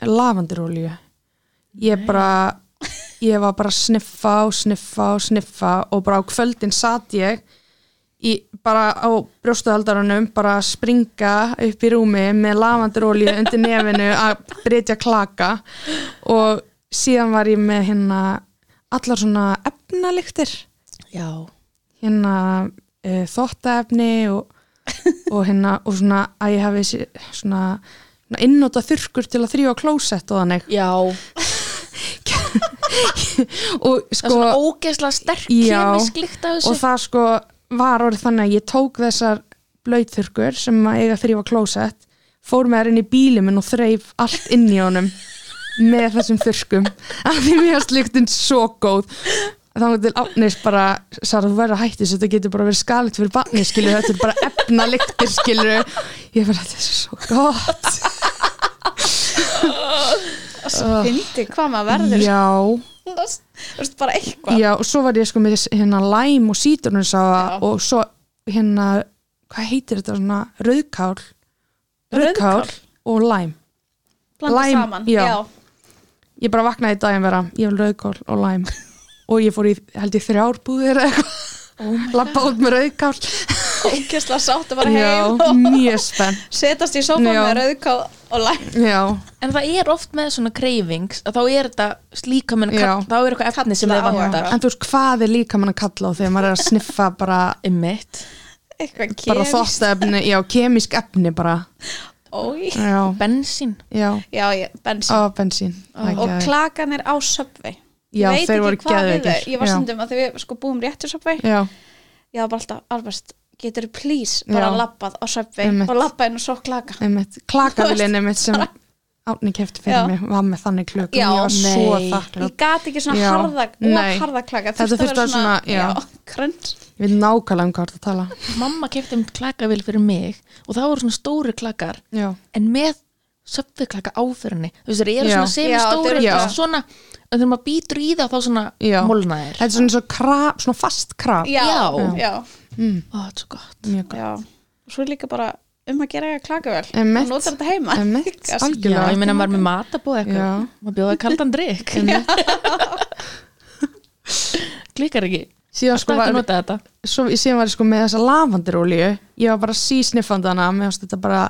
lavandirolíu ég bara ég var bara að sniffa og sniffa og sniffa og bara á kvöldin satt ég í, bara á brjóstuhaldarunum bara að springa upp í rúmi með lavandirolíu undir nefinu að breytja klaka og síðan var ég með hérna allar svona efnaliktir
Já,
hérna uh, þóttaefni og, og hérna og svona að ég hafi sé- svona, svona innóta þurrkur til að þrýfa klósett og þannig
já
og
Það er
sko
svona ógeðslega sterk
Já.
kemisk lykt af
og
þessu
það sko var orðið þannig að ég tók þessar blöytþurkur sem að eiga að þrýfa klósett fór með þær inn í bílum minn og þreif allt inn í honum með þessum þurrkum af því mér varst lyktin svo góð þá til átnis bara Sara þú verður að hætti þessu, þetta getur bara verið skalitt fyrir barni skilur, þetta er bara efna lyktir skilur ég verður þetta er svo gott
fyndi hvað maður verður
Ah. já,
þú veist bara eitthvað
Já, og svo var ég sko með þess- hérna læm og sítrunsafa og svo hérna, hvað heitir þetta svona, rauðkál
Rauðkál?
og læm
blanda
Lime,
saman,
já.
já,
ég bara vaknaði í daginn vera, ég vil rauðkál og
[laughs]
læm og ég fór í, held ég þrjár búðir eða eitthvað,
oh
lappa út með rauðkál
ógeðslega sátt að fara
já,
heim og
mjög spenn
setast í sófa
Já.
með rauðkáð og lært
já,
En það er oft með svona cravings að þá er þetta slíka menn
Já.
þá er eitthvað efni sem
Kalla
þið
á
vantar
en þú veist hvað er líka mann að kalla á þegar maður er að sniffa bara,
Einmitt.
eitthvað
bara
kemist
þóttefni, já, kemísk efni bara,
Ói.
já,
Bensín
já,
já, ég, bensín
á bensín Það er
og
geðveikt.
klaganir á söpvei
Já, þeir voru geðveikir.
ég var
Já.
stundum að þegar við sko búum réttur söpvei
já,
ég var bara alltaf, Albert, getur please bara
Já.
labbað á söpvei
Einmitt.
og labbað inn og svo klaka
einmitt, klakavillin einmitt sem átni kefti
Já.
fyrir mig var með þannig klöku,
Já,
ég var svo
nei.
þakklátt
ég gat ekki svona
Já.
harða
Nei.
og harða klaka
Þetta
Þurfti
þurfti að
vera
svona- já.
já, [laughs] krönt
Ég veit nákvæmlega um hvað það tala.
Mamma kefti um klakavél fyrir mig og það voru svona stóri klakar
Já.
en með söpfiklaka áfyrinni þú veist þeir eru
Já.
svona semi stóri
Já,
þeir-
svona, en þegar maður býtur í það þá svona
Já.
molnaðir
Þetta er svona, svona, krab, svona fast krab.
já,
Já.
já,
Mm,
Ó, þetta er svo gott
mjög gott.
já. og svo er líka bara um að gera eitthvað klaka vel
Einmitt.
og nota þetta heima
Einmitt,
[laughs] Gast-
algjörlega.
Já, ég meina maður er með matabóð eitthvað
Já.
maður bjóða kaldan drikk [laughs] klikkar ekki
Síðan,
sko
sko
að
var,
nota þetta
svo, síðan var ég sko með þessa lavandirolíu. Ég var bara sísniffandi hana. Mér varst þetta bara,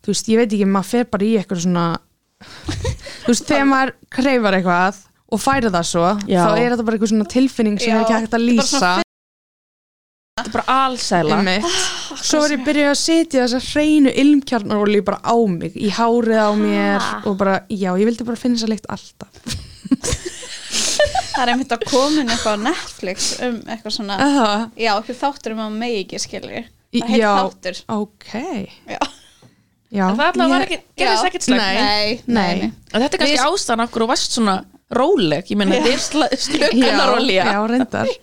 þú veist, ég veit ekki, maður fer bara í eitthvað svona, þú veist, þegar maður kreifar eitthvað og færi það svo,
Já.
þá er þetta bara eitthvað svona tilfinning sem
Já.
er ekki hægt að
Þetta er bara
lýsa.
svona
þetta er bara alsæla
Einmitt. Svo var ég byrjuð að setja þessa hreinu ilmkjarnarolíu bara á mig, í hárið á mér
Ha?
og bara, já, ég vildi bara finna þessa lykt alltaf.
það er einmitt að komin eitthvað á Netflix um eitthvað svona
Uh,
já, eitthvað þáttur um að megi ekki skilur
Í-
það heitir
já.
þáttur
ok
já.
já.
En það allavega var ekki, gerðist
Já.
ekkert slæmt
Nei.
nei,
Nei.
En þetta er kannski
Við-
ástæðan af hverju þú varst svona róleg, ég meina þetta er
já,
slökunarolja
já, reyndar
það er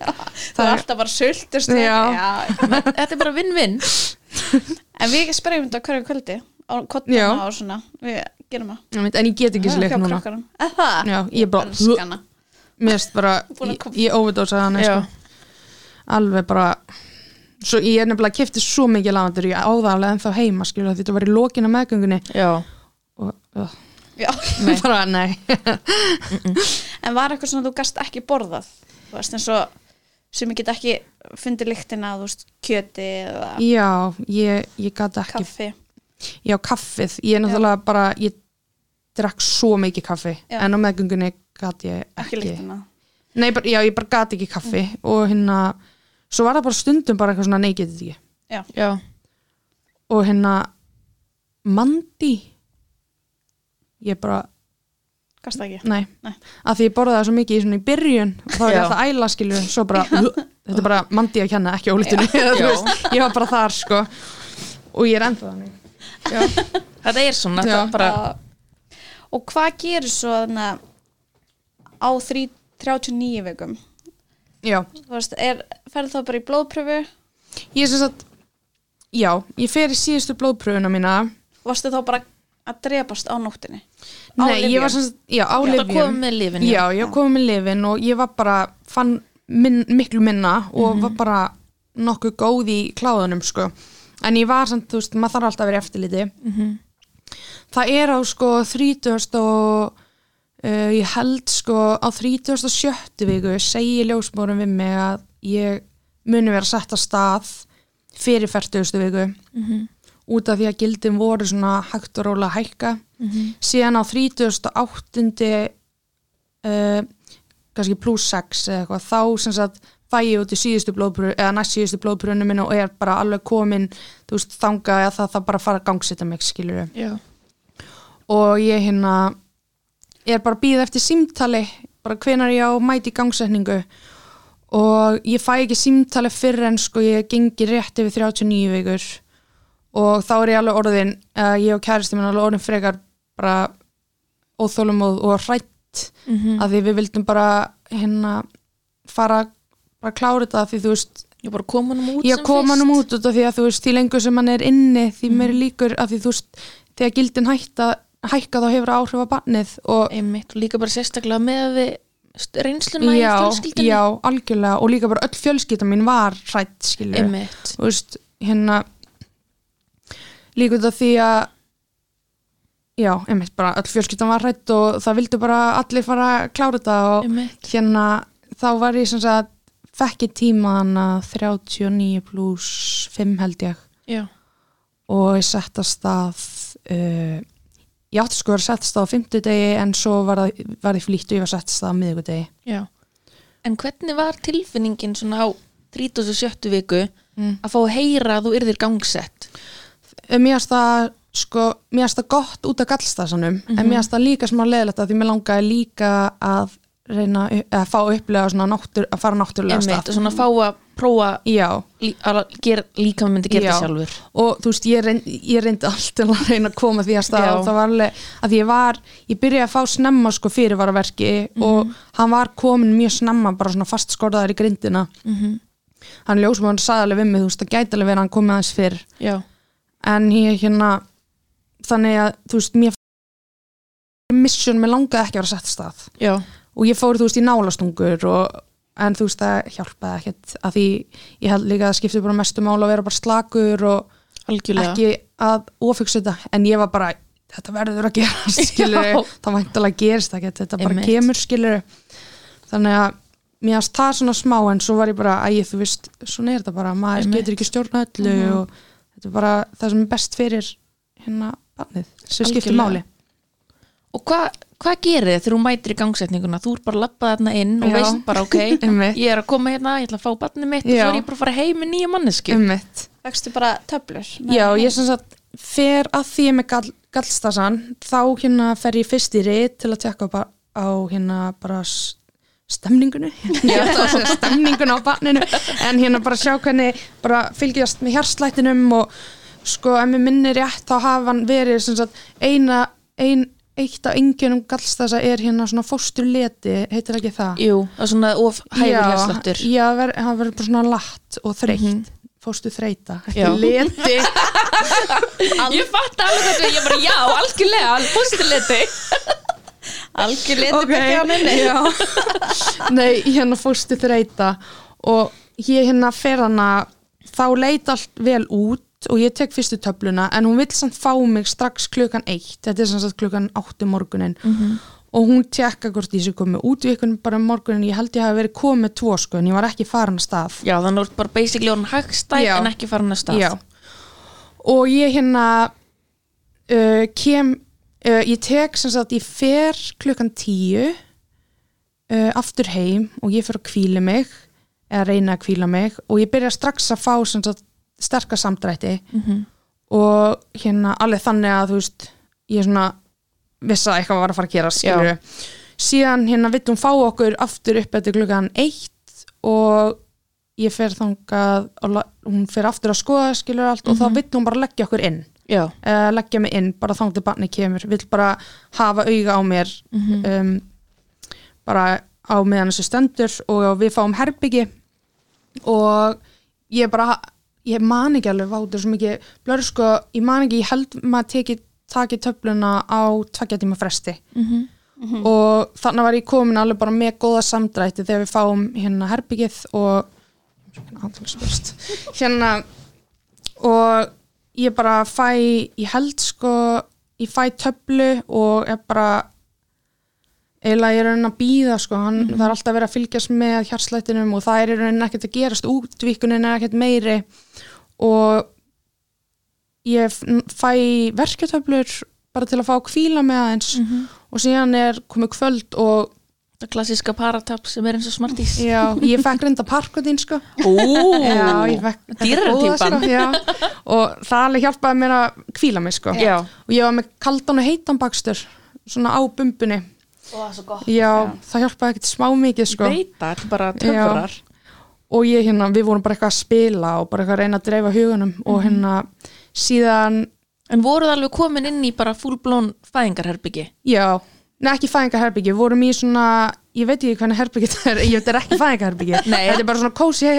er-
alltaf bara sultust
Já.
Þetta er bara vinn-vinn
en við spreyjum þetta á hverju kvöldi á
Já.
kottana og svona við gerum það
Einmitt, en ég get ekki
hjá
slik núna
krakkarum eða það
já, ég bara,
Elskana.
mér erst bara
Búin að
ég,
koma.
ég overdósa hann
Já.
sko. alveg bara svo ég er nefnilega kefti svo mikið lavandur ég áðarlega en þá heima skilja því þetta var í lokin á meðgöngunni
Já,
og uh,
Já.
bara nei
en var eitthvað svona þú gast ekki borðað þú veist eins og sem ég get ekki fundið lyktina þú veist kjöti eða
já, ég, ég gat ekki
kaffi
já, kaffið, ég er náttúrulega bara ég drakk svo mikið kaffi
Já.
en á meðgöngunni gat ég
ekki lyktina
Nei, bara, já, ég bara gati ekki kaffi og hérna, svo var það bara stundum bara eitthvað svona, nei, getið þið ekki
já,
já,
og hérna, mandi ég bara,
gast ekki
nei,
Nei.
að því ég borðaði það svo mikið í, svona, í byrjun og þá er
Já.
ég alltaf æla skilur, svo bara þetta er bara mandi að kenna, ekki ólítunni Þú veist, ég var bara þar, sko og ég er ennþá þannig
þetta er svona
Já.
þetta er bara,
og hvað gerir svo þannig að á þrí- 39 vikum
já,
þú veist, er, ferð þá bara í blóðpröfu
ég er sem sagt já, ég fer í síðustu blóðpröfuna mína
varstu þá bara að drepast á nóttinni Á
nei, ég
lyfjum?
var sem sagt, já, á
þetta
lyfjum.
komið með lífin
já, ég var komin með lifin og ég var bara fann minn, miklu minna og var bara nokkuð góð í kláðunum sko. en ég var samt, þú veist, maður þarf alltaf að vera í eftirliti það er á sko 30 og uh, ég held sko á 37. viku segi ljósmórum við mig að ég muni vera sett að stað fyrir 40. viku út af því að gildin voru svona hægt og róla að hækka síðan á 38 uh, kannski pluss 6 eða eitthvað, þá sem sagt fæ ég út í síðustu blóðpröfu eða næst síðustu blóðpröfunum minn og er bara alveg komin þú veist, þangað að það, það bara fara að gangsita mig skilur
já,
og ég hérna er bara að býða eftir símtali bara hvenar ég á að mæta í gangsetningu og ég fæ ekki símtali fyrir en sko ég gengi rétt yfir 39 vikur og þá er ég alveg orðin uh, ég og kæristi minn alveg orðin frekar bara óþólum og, og hrætt að því við vildum bara hérna fara bara klára þetta því þú veist
ég bara kom honum út
ég
sem
kom
fyrst. Mhm.
hann út út af því að þú veist því lengur sem hann er inni því meiri líkur af því þú veist þegar gildin hætta, hækka þá hefur það áhrif á barnið og
einmitt, og líka bara sérstaklega með að við st- reynsluna í
já,
fjölskyldunni
já, algjörlega og líka bara öll fjölskylda mín var hrætt skilur
einmitt,
þú veist, hérna líka út af því að já, einmitt bara öll fjölskyldan var hrætt og það vildu bara allir fara að klára þetta og
einmitt
hérna þá var ég sem sagt fekk ég tíma hana 39 pluss 5 held ég
já,
og ég sett að stað uh, ég átti sko að vera settist það á fimmtudegi en svo var, það, var ég flýtt og ég var settist það á miðugudegi
Já. En hvernig var tilfinningin svona á 37. viku að fá að heyra að þú yrðir gangsett?
Um, mér finnst það sko, mér finnst það gott út af gallstasanum en
Mhm.
mér finnst það líka smá leðilegt að því mér langaði líka að reyna að fá að upplega svona náttur, að fara náttúrulega af
Einmitt, og svona fá að prófa
Já,
lí- að gera, líka maður myndi gera
Já.
það sjálfur.
og þú veist, ég reyndi, ég reyndi allt til að reyna að koma því að stað
Já.
og það var alveg, að ég var, ég byrjaði að fá snemma sko fyrirvaraverki
Mhm.
og hann var komin mjög snemma, bara svona fast skorðaðar í grindina
Mhm,
-hmm. hann ljósum hann sagði alveg við mig, þú veist, það gæti alveg verið að hann komið aðeins fyrr
Já.
en ég hérna þannig að, þú veist, mér mission, mér langaði ekki að vera sett af stað
Já.
og ég fór, þú veist, í nálastungur og, en þú veist, það hjálpaði ekkert að því, ég held líka að það skipti bara mestu mála að vera bara slakur og
Algjörlega.
ekki að ofugsa þetta en ég var bara, þetta verður að
[laughs]
gerast
Já.
skilur, það væntalega gerist ekki þetta bara
Einmitt.
kemur skilur þannig að mér varst það svona smá en svo var ég bara, æg, þú veist, svona er þetta bara maður
Einmitt. Mhm.
getur ekki stjórna öllu og þetta er bara það sem er best fyrir hérna barnið, sem skiptir
Algjörlega.
máli
Og hva, hvað gerir þið þegar þú mætir í gangsetninguna? Þú er bara að labba þarna inn og
Já.
veist bara, [laughs] ok,
Einmitt.
ég er að koma hérna, ég ætla að fá barnið mitt og
Já.
svo er ég bara að fara heim með nýja mannesku.
ummitt
Vekstu bara töflur?
Já, ég sem sagt fer að því ég er með gall, gallstasan þá hérna fer ég fyrst í rít til að tekka á, á hérna bara s- [laughs] stemningunum stemningun á barninu en hérna bara sjá hvernig bara fylgjast með hjarslætinum og sko ef mér minni rétt þá hafa hann verið sem sagt eina ein, eitt af engjunum gallstasa er hérna svona fósturleti, heitir ekki það?
Jú, það er svona of hægur
Já,
hérsláttur.
Já, ver- hann verður bara svona latt og þreytt fóstu þreita, ekki
Mhm. Já.
[laughs] leti
Ég fatt alveg þetta, ég bara, já, algjörlega, alveg fósturliti.
Algjör litur okay. á minni
já. Nei, hérna fórstu þreita og ég hérna fer hana þá leit allt vel út og ég tek fyrstu töfluna en hún vill samt fá mig strax klukkan eitt þetta er sem sagt klukkan áttu morgunin og hún tekka hvort ég sé komið út við ykkur bara um morgunin, ég held ég hafi verið komið tvo sko en ég var ekki farin að stað
Já, þannig að þú ert bara basically orðin hagstæð
Já.
en ekki farin að stað.
Já. Og ég hérna uh, kem, uh, ég tek sem sagt, ég fer klukkan tíu uh, aftur heim og ég fer að kvíla mig eða reyna að kvíla mig og ég byrja strax að fá sem sagt sterka samdrætti
Mhm.
-hmm. og hérna alveg þannig að þú veist ég svona vissi að eitthvað var að fara að gera skilur síðan hérna vill hún fá okkur aftur upp eftir klukkan eitt og ég fer þangað og la- hún fer aftur að skoða skilur allt og þá vill hún bara leggja okkur inn
Já.
uh, leggja mig inn, bara þangði barni kemur vill bara hafa auga á mér um, bara á meðan þessu stendur og við fáum herbyggi og ég bara ég man ekki alveg vátur svo mikið blöður sko, ég man ekki, ég held maður teki, taki töfluna á tvekja tíma fresti og þannig var ég komin alveg bara með góða samdrætti þegar við fáum hérna herbyggið og hérna og ég bara fæ ég held sko, ég fæ töflu og er bara eiginlega ég er raunin að býða sko, hann, það er alltaf verið að fylgjast með hjarslættinum og það er í raunin ekkert að gerast útvíkunin er ekkert meiri og ég f- n- fæ verketöflur bara til að fá að kvíla með aðeins og síðan er komið kvöld og
Það klassíska paratab sem er eins og smartís.
já, ég fekk reynda parkotín sko
Ó,
já, ég fekk þetta
dýrari
góða,
típan.
sko, [laughs] já. og það alveg hjálpaði mér að kvíla mig sko.
Já.
og ég var með kaldan og heitan bakstur svona á bumbunni
Og það er svo gott
já, það hjálpaði ekkert smá mikið sko.
Veit það, þetta er bara töfrar.
og ég hérna, við vorum bara eitthvað að spila og bara eitthvað að reyna að dreifa hugunum og hérna, síðan
En voruð alveg komin inn í bara fullblón fæðingarherbyggi?
Já, neða ekki fæðingarherbyggi, við vorum í svona, ég veit ekki hvernig herbyggi það [laughs] er, ég veit þetta er ekki fæðingarherbyggi, [laughs]
Nei.
þetta er bara svona kósi uh,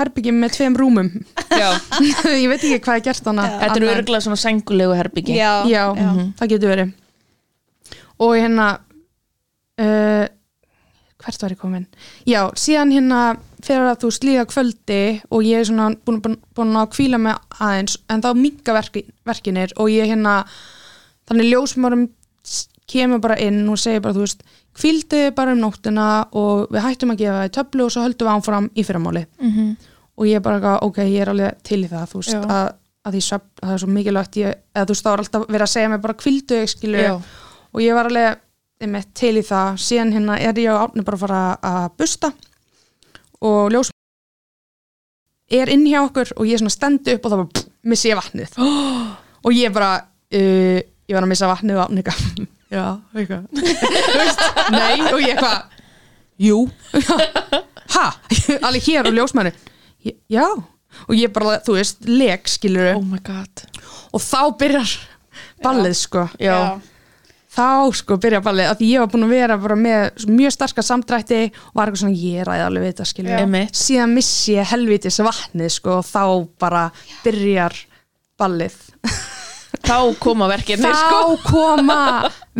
herbyggi með tveim rúmum, [laughs]
Já.
ég veit ekki hvað er gert hana.
Þetta eru örgulega svona sængulegu herbyggi.
Já,
Já, mhm, það getur verið. Og hérna, uh, hvert var ég komin? Já, síðan hérna fyrir að þú slíða kvöldi og ég er svona búin, búin, búin að kvíla mig aðeins, en þá minga verki, verkinir og ég hérna, þannig ljósmárum kemur bara inn og segir bara, þú veist, kvíldu bara um nóttina og við hættum að gefa það í töflu og
Mhm.
svo höldum við ánfram í fyrramáli. -hmm. Og ég er bara, eitthvað, ok, ég er alveg til í það, þú veist,
Já.
að að því svefn, það er svo mikilvægt ég, eða þú veist, það var alltaf verið að segja mér bara kvildu ég skilu
Já.
og ég var alveg einmitt, til í það, síðan hérna er ég á átni bara að fara að busta og ljós er inn hjá okkur og ég svona stendi upp og það bara pff, missi ég vatnið oh. og ég bara uh, ég var að missa vatnið og átni eitthvað já, eitthvað [laughs] Þú veist, nei, og ég eitthvað jú, ha [laughs] alveg hér og ljósmæri já, og ég bara, þú veist, leg skilur
oh my god
og þá byrjar ballið sko
Já.
þá sko byrja ballið af því ég var búin að vera bara með mjög starka samdrætti og var eitthvað svona ég ræði alveg við þetta skilur
Einmitt.
síðan missi ég helvitis vatnið sko og þá bara byrjar ballið
þá koma verkefni
þá
sko
[laughs] koma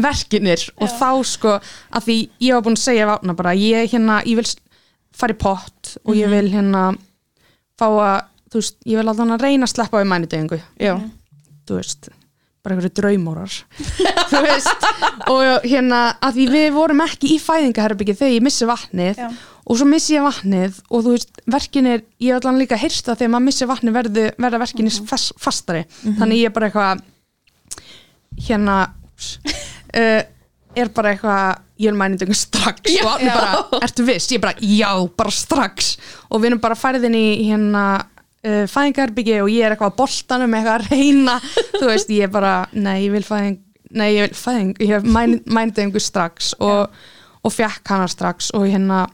verkinir og þá sko af því ég var búin að segja vatna bara ég hérna, ég vil s- fara í pott og
Mhm.
ég vil hérna fá að, þú veist, ég vil alltaf reyna að sleppa við mænudeyingu
já,
þú veist bara einhverju draumórar [laughs] þú veist, og hérna að því við vorum ekki í fæðingaherbyggi þegar ég missi vatnið
Já.
og svo missi ég vatnið og þú veist, verkin er ég hef allan líka heyrt það þegar maður missi vatnið verðu, verða verkin fast, fastari þannig ég er bara eitthvað hérna uh, er bara eitthvað ég vil mæna þetta strax og hann
Já.
bara, ertu viss? Ég bara, já, bara strax og við erum bara færðin í hérna uh, fæðingarbyggi og ég er eitthvað á boltanum eitthvað að reyna, [laughs] þú veist, ég er bara nei, ég vil fæðing, nei, ég vil fæðing ég mæna þetta strax og, og fjakk hana strax og hérna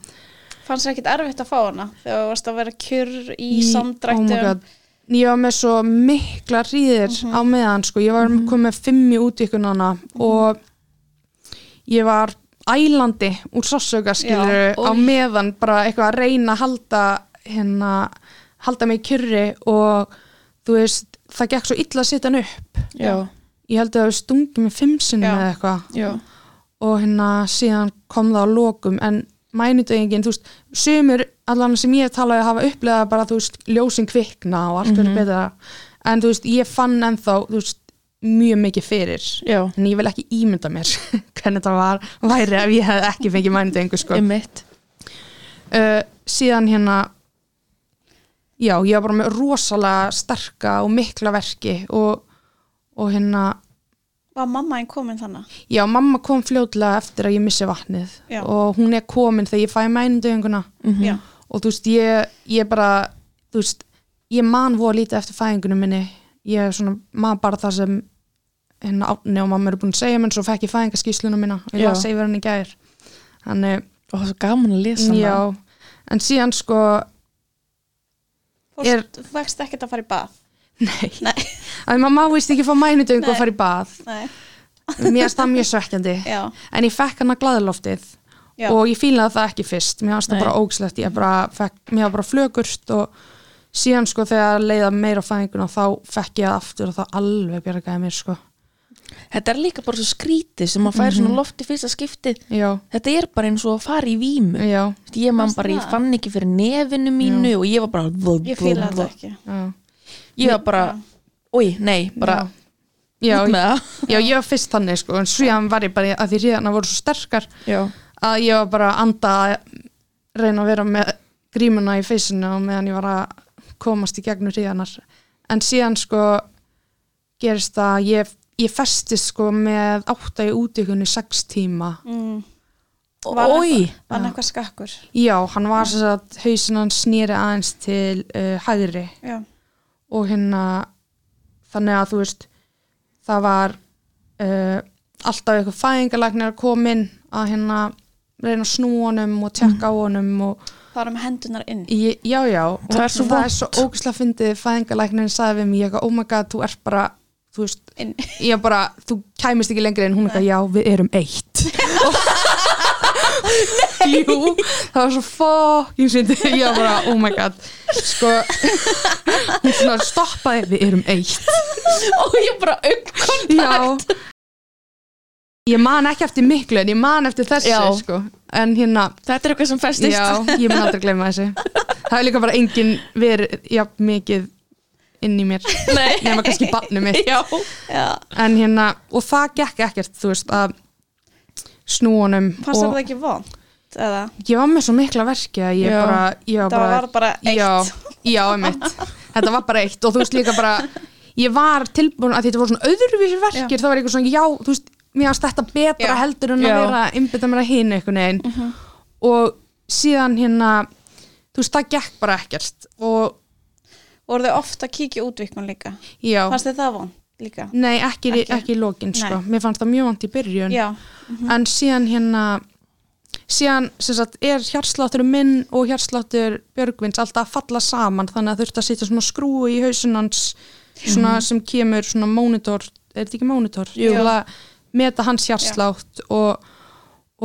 Fannst þér ekkit erfitt að fá hana þegar þú varst að vera kjurr í
Í-
samdrættum
oh my god. ég var með svo mikla ríðir
Mhm.
á meðan sko, ég var mm -hmm. komið fimm í útíkunana og ég var ælandi úr sássöka
Já,
skilur á meðan bara eitthvað að reyna að halda hérna, halda mig í kjurri og þú veist, það gekk svo illa að setja hann upp
já,
ég held að það stungi mig fimm sinni
Já.
eða eitthvað
já
og hérna síðan kom það á lokum en mænudöngin, þú veist, sumur allan sem ég talaði hafa upplegað bara, þú veist, ljósin kvikna og allt verður betra en þú veist, ég fann ennþá, þú veist, mjög mikið fyrir
já,
en ég vil ekki ímynda mér [laughs] hvernig það var, væri ef ég hef ekki fengið mænudöngu sko
emitt
uh, síðan hérna já, ég var bara með rosalega sterka og mikla verki og, og hérna
Var mamma einn komin þannig?
Já, mamma kom fljótlega eftir að ég missi vatnið
Já.
og hún er komin þegar ég fæ mænundöðinguna
Já,
og þú veist, ég, ég bara þú veist, ég man voða lítið eftir fæðingunum minni, ég er svona man bara það sem hérna átni og mamma eru búin að segja, menn svo fekk ég fæðingaskísluna mína og ég
Já.
var að segja henni í gær þannig,
og það er svo gaman að lesa hana
já en síðan sko,
fórst, er... vekst ekkert að fara í bað
nei,
Nei,
að því mamma víst ekki að fá mænundöðingu
Nei.
og fara í bað
nei,
mér er það mjög svekkjandi
já,
en ég fekk hana glæðloftið
Já.
og ég fílaði það ekki fyrst mér fannst það
Nei.
bara ógslegt ég bara fekk, mér var bara flögurst og síðan sko þegar leiða meira á fæðinguna þá fekk ég það aftur og það alveg bjargaði mér sko
þetta er líka bara svo skrítið sem maður fær svona loft í fyrsta skiptið
já,
þetta er bara eins og að fara í vímu
já,
Þú veist, ég man
Fannst
bara, ég
það?
fann ekki fyrir nefinu mínu og ég var bara
ég fíla þetta ekki
já.
ég var bara, oi, nei, bara
já,
út með
já,
það
já, ég var fyrst þannig sko en síðan var ég bara að því ríðana voru svo sterkar
já,
að ég var bara að anda að reyna að vera með grímuna í feysinu og meðan ég var að komast í gegnum hríðanar en síðan sko gerist það að ég, ég festist sko með átta í útíkunni sex tíma
mm. Var
oi
Var hann eitthvað skakkur?
já, hann var þess að hausin hann snýri aðeins til uh, hæðri
Já,
og hérna þannig að þú veist það var uh, alltaf eitthvað fæðingalagnir að koma inn að hérna reyna að snú honum og tjekka á honum og
það var með hendunar inn
Ég, já, já,
Það er svo
það er svo ógislega fyndið fæðingalæknirinn sagði við mig, ég eitthvað, oh my god, þú ert bara þú veist,
Inn.
ég bara, þú kæmist ekki lengri en hún eitthvað, já, við erum eitt
[laughs]
Jú, það var svo fokkin fyndið, ég var bara, oh my god sko hún svona stoppaði, við erum
[laughs]
eitt
og ég bara aukon
Já Ég man ekki eftir miklu en ég man eftir þessu
Já.
sko. en hérna
þetta er eitthvað sem festist
[laughs] Já, ég mun aldrei glemma þessu Það er líka bara engin verið jafn mikið inn í mér
Nei.
nema kannski barnið mitt
já,
Já,
en hérna, og það gekk ekkert þú veist, að snú honum
fannst
og
það ekki vond? Eða,
ég var með svo mikla verki að ég
Já.
bara, ég var
það
bara
var bara eitt
Já, já, einmitt Þetta var bara eitt og þú veist líka bara ég var tilbúin að því þetta voru svona öðruvísir verkir þá var ég eitthvað svona, já, þú veist, mér varst þetta betra
Já. Uh-huh.
heldur en
Já.
að vera innbytta mér að hinu einhvern veginn og síðan hérna þú veist, það gekk bara ekkert og
voru þau ofta að kíkja útvikun líka
já,
fannst þið það von líka
nei, ekki,
Ekki?
ekki. í lokin, sko mér fannst það mjög vant í byrjun
já,
en síðan hérna síðan sem sagt er hjartsláttur minn og hjartsláttur Björgvins alltaf að falla saman þannig að þurfti að sitja svona skrúi í hausunans svona sem kemur svona monitor, er þetta ekki monitor?
Mhm. Jú.
Til að meta hans hjartslátt og,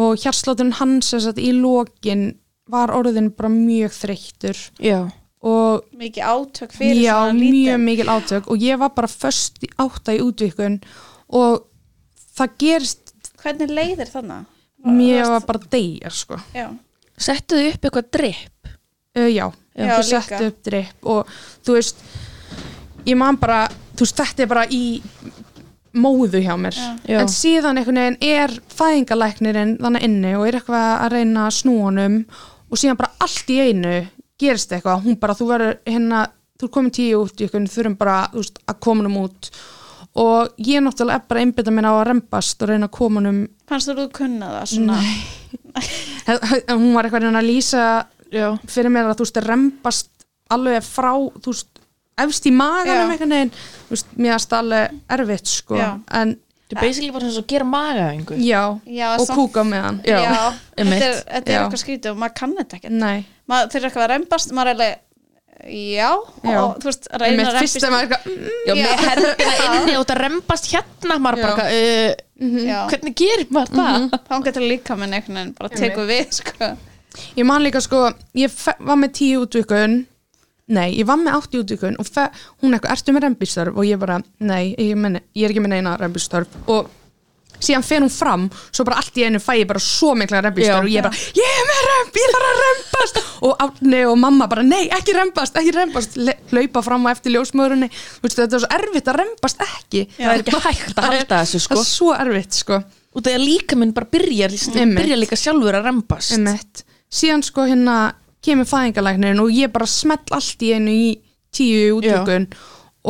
og hjartslátturinn hans sem sagt í lokin var orðin bara mjög þreyttur
já,
og
mikið átök fyrir
já,
svona
mjög
lítið
mikil átök og ég var bara föst í átta í útvikun og það gerist
hvernig leiðir þannig?
mér var bara að deyja sko
já,
settu þau upp eitthvað drip
uh, já,
Já,
já
líka.
þau settu upp drip og þú veist ég man bara, þú veist þetta er bara í móðu hjá mér
Já.
en síðan einhvern veginn er fæðingalæknirinn þannig inni og er eitthvað að reyna að snúa honum og síðan bara allt í einu gerist eitthvað, hún bara þú verður hérna, þú er komin tíu út í einhvern þurfum bara þú veist, að koma honum út og ég náttúrulega er bara einbytta minna á að rembast og reyna að koma honum
fannst þú þú kunna það svona
hún var eitthvað að reyna að lýsa
já,
fyrir mér að þú veist rembast alveg frá þú veist efst í maganum
Já.
einhvern veginn þú veist, mér erst alveg erfitt sko
Já.
en
þetta er basically bara þess að gera maga einhver
já,
Já,
og
samt-
kúka með hann
Já, einmitt.
þetta er, þetta er
Já.
eitthvað skrítið og maður kann þetta ekki
nei,
maður þeir eru eitthvað að reymbast maður er alveg, já,
Já.
og þú veist, reyna
einmitt
að
fyrst
rembast
þegar maður er eitthvað mm,
já, með herfina
[laughs]
inni og það rembast hérna maður
Já.
bara, uh,
já,
hvernig gerir maður það
þá getur líka minn einhvern veginn bara tekur við, sko
ég man líka sko, ég fe- var með tíu útvikun nei, ég var með átti útvikun og fe- hún eitthvað, ertu með rembistörf og ég bara, nei, ég, meni, ég er ekki með neina rembistörf og síðan fer hún fram, svo bara allt í einu fæ ég bara svo mikla
Já.
rembistörf og ég bara, ég er með remb, ég þarf að rembast og átni og mamma bara, nei, ekki rembast ekki rembast, Le- hlaupa fram og eftir ljósmöðurinn veistu, þetta er svo erfitt að rembast ekki
það er ekki hægt að halda þessu
það
sko
er svo erfitt, sko
og það er líka minn bara byrjar
Einmitt.
byrjar líka sjálfur að rembast
Emmett. síðan sko hérna kemur fæðingalæknirinn og ég bara smell allt í einu í tíu útökun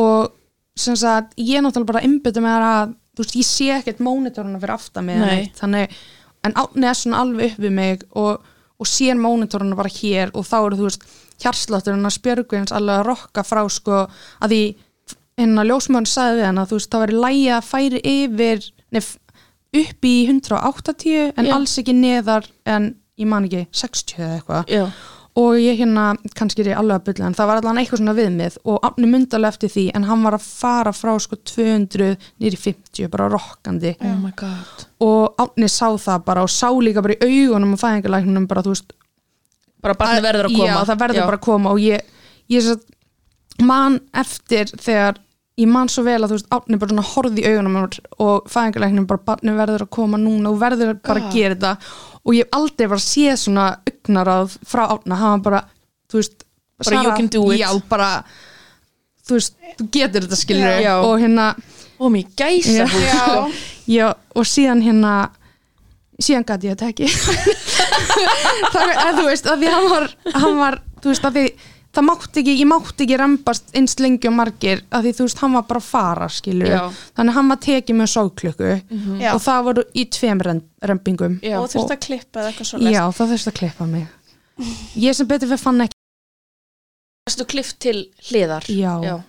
og sem sagt ég náttúrulega bara einbytta með það að þú veist, ég sé ekkert mónitoruna fyrir aftan mig eða
Nei.
neitt, þannig, en átni er svona alveg upp við mig og, og sér mónitoruna bara hér og þá eru þú veist hjartslátturinn að spjörgvins alveg að rokka frá sko að því hérna ljósmörn sagði við hann að þú veist, það væri lægi að færi yfir nef, upp í 180 en
Já.
alls ekki neðar en ég man ekki 60 eða eitthvað
já,
og ég hérna, kannski er ég alveg að bylla en það var allan eitthvað svona viðmið og átni myndalega eftir því en hann var að fara frá sko 200 nýri 50 bara rokkandi
oh my god
og átni sá það bara og sá líka bara í augunum og fæðingalæknunum bara þú veist
bara barni verður að koma
já, það verður
Já.
bara að koma og ég, ég satt, man eftir þegar ég man svo vel að þú veist átni bara svona horfði í augunum á mér og fæðingarleiknum bara barni verður að koma núna og verður bara
Ah.
að gera þetta og ég hef aldrei bara séð svona augnaráð frá átna, hann var bara þú veist,
Bara, "You can do it."
já, bara þú veist, þú getur þetta skilur
Já.
og hérna
og mér gæsa
Já.
já,
Já, og síðan hérna síðan gæti ég þetta ekki [laughs] það er, þú veist, að því hann var, hann var þú veist, að því það mátti ekki, ég mátti ekki rembast eins lengi og margir, að því þú veist, hann var bara að fara, skilur,
Já.
þannig að hann var tekið með sóklöku
Mhm.
Já.
og það voru í tveim rem- rembingum
Já.
og þurft að klippa eða eitthvað svona
Já, það þurfti að klippa mig ég sem betur fyrir fann ekki
Varstu klift til hliðar
já,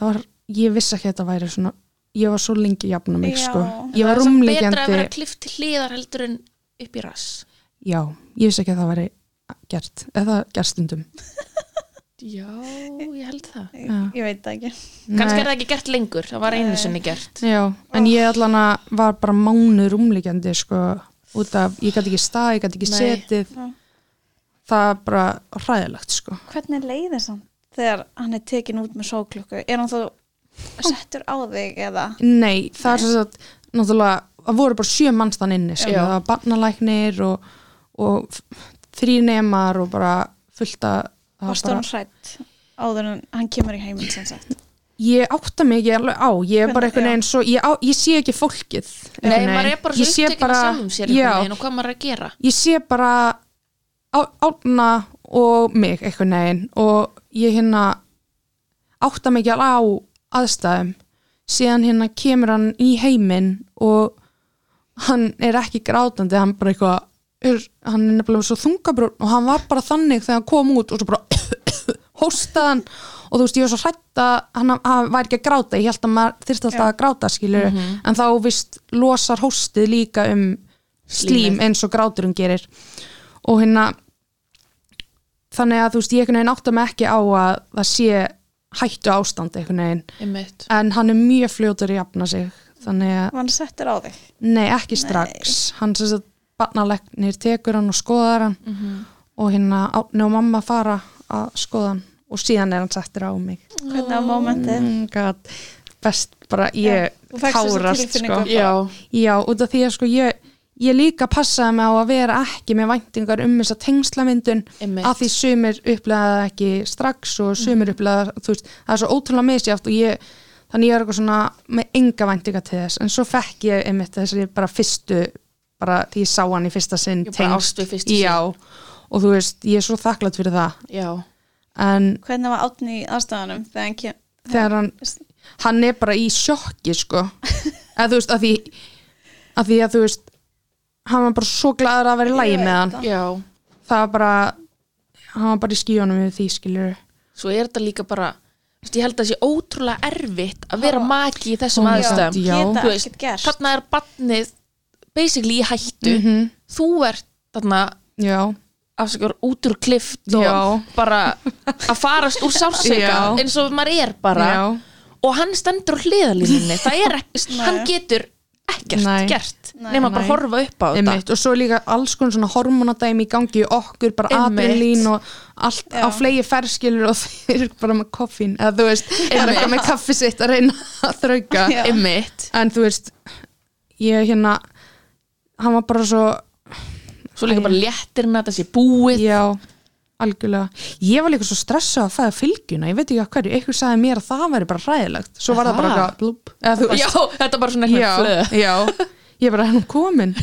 það var, ég vissi ekki að þetta væri svona ég var svo lengi jafn að mig,
Já.
sko
En
ég var
betra að
rúmlegjandi,
vera klift til hliðar heldur en upp í rass
já, ég vissi ekki að það væri gert, eða gerstundum
já, ég held það
Ég- ég veit það ekki
kannski er það ekki gert lengur, það var einu sinni gert
Já, en ég allan að var bara mánuð rúmliggjandi sko, út af, ég gæti ekki stað, ég gæti ekki
Nei.
setið
Já.
það er bara hræðilegt sko
hvernig leiðir samt þegar hann er tekin út með sóklukku er hann þá settur á þig eða
Nei, það er svo að náttúrulega, það voru bara sjö manns þann inni sko,
Já.
það var barnalæknir og, og þrý nemar og bara fullta
varst hann hrætt áður en hann kemur í heiminn sem sagt
Ég átta mig ekki alveg á, ég er
Hvernig-
bara einhvern veginn svo, ég, á, ég sé ekki fólkið
nei,
einhvern
maður
veginn.
er bara
Ég
svo
sé
upptekinn af
bara-
sjálfum sér
Já,
einhvern veginn og hvað maður er að gera
ég sé bara á- átna og mig einhvern veginn og ég hérna átta mikið á aðstæðum síðan hérna kemur hann í heiminn og hann er ekki grátandi, hann bara eitthvað er, hann er nefnilega svo þungabrún og hann var bara þannig þegar hann kom út og svo bara [coughs] hóstaðan og þú veist ég var svo hrætt að hann, hann væri ekki að gráta ég held að maður þyrst alltaf að gráta skilur en þá vist losar hóstið líka um slím
Slímið.
eins og gráturinn gerir og hérna þannig að þú veist ég einhvern veginn átta mig ekki á að það sé hættu ástand einhvern veginn
Einmitt.
en hann er mjög fljótur í að jafna sig þannig að
og hann settir á þig
Nei, ekki strax. Hann sem sagt barnalegnir tekur hann og skoðar hann og hérna átni og mamma fara að skoða hann og síðan er hann settur á mig.
hvernig á momentið
Mm, God, best bara
Já,
ég
þú fékkst þessa
tárast sko.
tilfinningu.
Já,
Já, út af því að sko ég, ég líka passaði mig á að vera ekki með væntingar um þessa tengslamyndun
Einmitt. Mm.
að því sumir upplega það ekki strax og sumir upplega það, þú veist, það er svo ótrúlega misjátt og ég, þannig ég er eitthvað svona með enga væntingar til þess, en svo fekk ég einmitt þessari bara fyrstu bara því ég sá hann í fyrsta sinn
Ég bara ást við fyrstu sinn.
Já, og þú veist, ég er svo þakklátt fyrir það
já,
en
hvernig var átni í aðstæðanum þegar hann kem
þegar hann hann er bara í sjokki sko að þú veist að því að því að þú veist hann var bara svo gladur að vera í lægi
Ég
með
veit
hann
það.
já.
það var bara hann var bara í skíunum við því skilur
Svo er þetta líka bara, þú veist, ég held að það sé ótrúlega erfitt að vera maki í þessum
Oh my
aðstæðum.
God, já.
Þú
geta
veist,
ekkert gerst
þarna er barnið basically í hættu.
Mhm.
Þú ert þarna
já,
afsakar út úr klift og
Já.
bara að farast úr sársveika
Já.
eins og maður er bara
já,
og hann stendur á hliðalínunni það er ekki,
Nei.
hann getur ekkert
Nei.
gert
Nei.
nema bara
Nei.
horfa upp á þetta
einmitt og svo er líka alls konar svona hormonadæmi í gangi í okkur, bara
Einmitt.
adrenalín og allt
Já.
á flegi ferskilur og [laughs] þeir eru bara með koffín eða þú veist, það er
Einmitt.
eitthvað með kaffi sitt að reyna að þrauka
Já.
einmitt,
en þú veist ég hérna hann var bara svo
svo líka bara léttir hann að það sé búið
Já, algjörlega Ég var líka svo stressað að fæða fylgjuna Ég veit ekki að hverju, eitthvað sagði mér að það væri bara ræðilegt Svo var
Er
það bara
það?
eitthvað blúb, eða, þú [laughs]
já,
veist,
þetta er bara svona eitthvað flöð
já, já, ég bara henni komin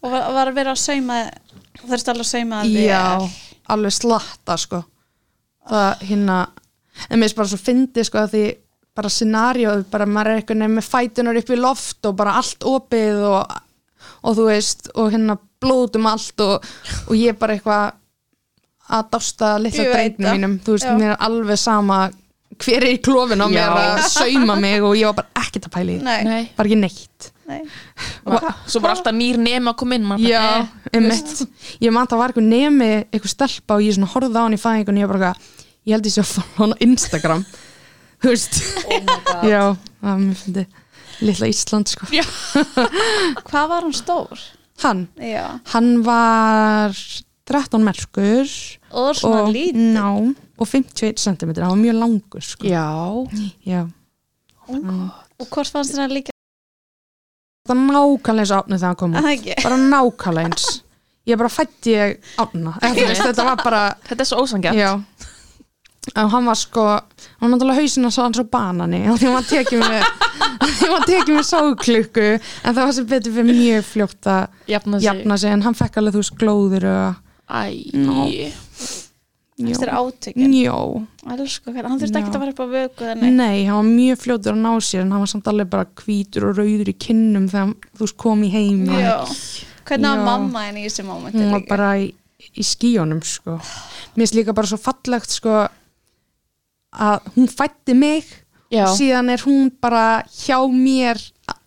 og var, var að vera að sauma þurfti alveg að sauma þig
Já, alveg slatta sko Það hérna En mér er bara svo fyndi sko að því bara scenarióð, bara maður er eitthvað nefn með fætunar upp í loft og bara allt opið og, og þú veist og hérna blótum allt og, og ég bara eitthvað að dásta litla
Ég veit
drengnum
það.
mínum þú veist,
Já.
mér er alveg sama hver er í klófin á mér
Já.
að sauma mig og ég var bara ekkert að pæli
nei, nei.
Nei.
bara ekki neitt
Ma- svo bara alltaf nýr nema að koma inn maður bara, eh,
einmitt ég man það var eitthvað nemi, eitthvað stelpa og ég svona horfði á hann í fæðingun og ég bara eitthvað, ég held ég sé að fá hann á Instagram [laughs] þú veist oh já, það var mér fyndi litla Ísland sko
hvað var hann stór?
hann,
Já.
hann var 13 merkur
og svona
og,
lít
ná, og 51 cm hann var mjög langur sko
já,
já. Mm.
og hvort fannst þér hann líka
það var nákvæmlega eins og átnið þegar
[laughs]
hann kom út
að ekki
bara nákvæmlega eins ég bara fætti ég átna þetta var bara
þetta er svo ósangjart
Já En hann var sko, hann var náttúrulega hausinn að hann svo banani og því hann var tekið með því hann var tekið með sáklukku en það var sem betur fyrir mjög fljótt að
jafna sig
jafna sig en hann fekk alveg þú veist glóður og
Æ,
Nó.
eftir
Jó.
átökin
Jó.
Elsku, hvernig- hann þurfti
Mm. Já.
ekki að fara upp á vöku eða neitt.
Nei, hann var mjög fljótur að ná sér en hann var samt alveg bara hvítur og rauður í kinnum þegar hann, þú veist kom í heim
Já. hvernig var
Já.
mamma henni í þessu mómenti
hún var
líka?
bara í, í skíunum sko. mér finnst líka bara svo fallegt sko, að hún fætti mig
Já.
og síðan er hún bara hjá mér a-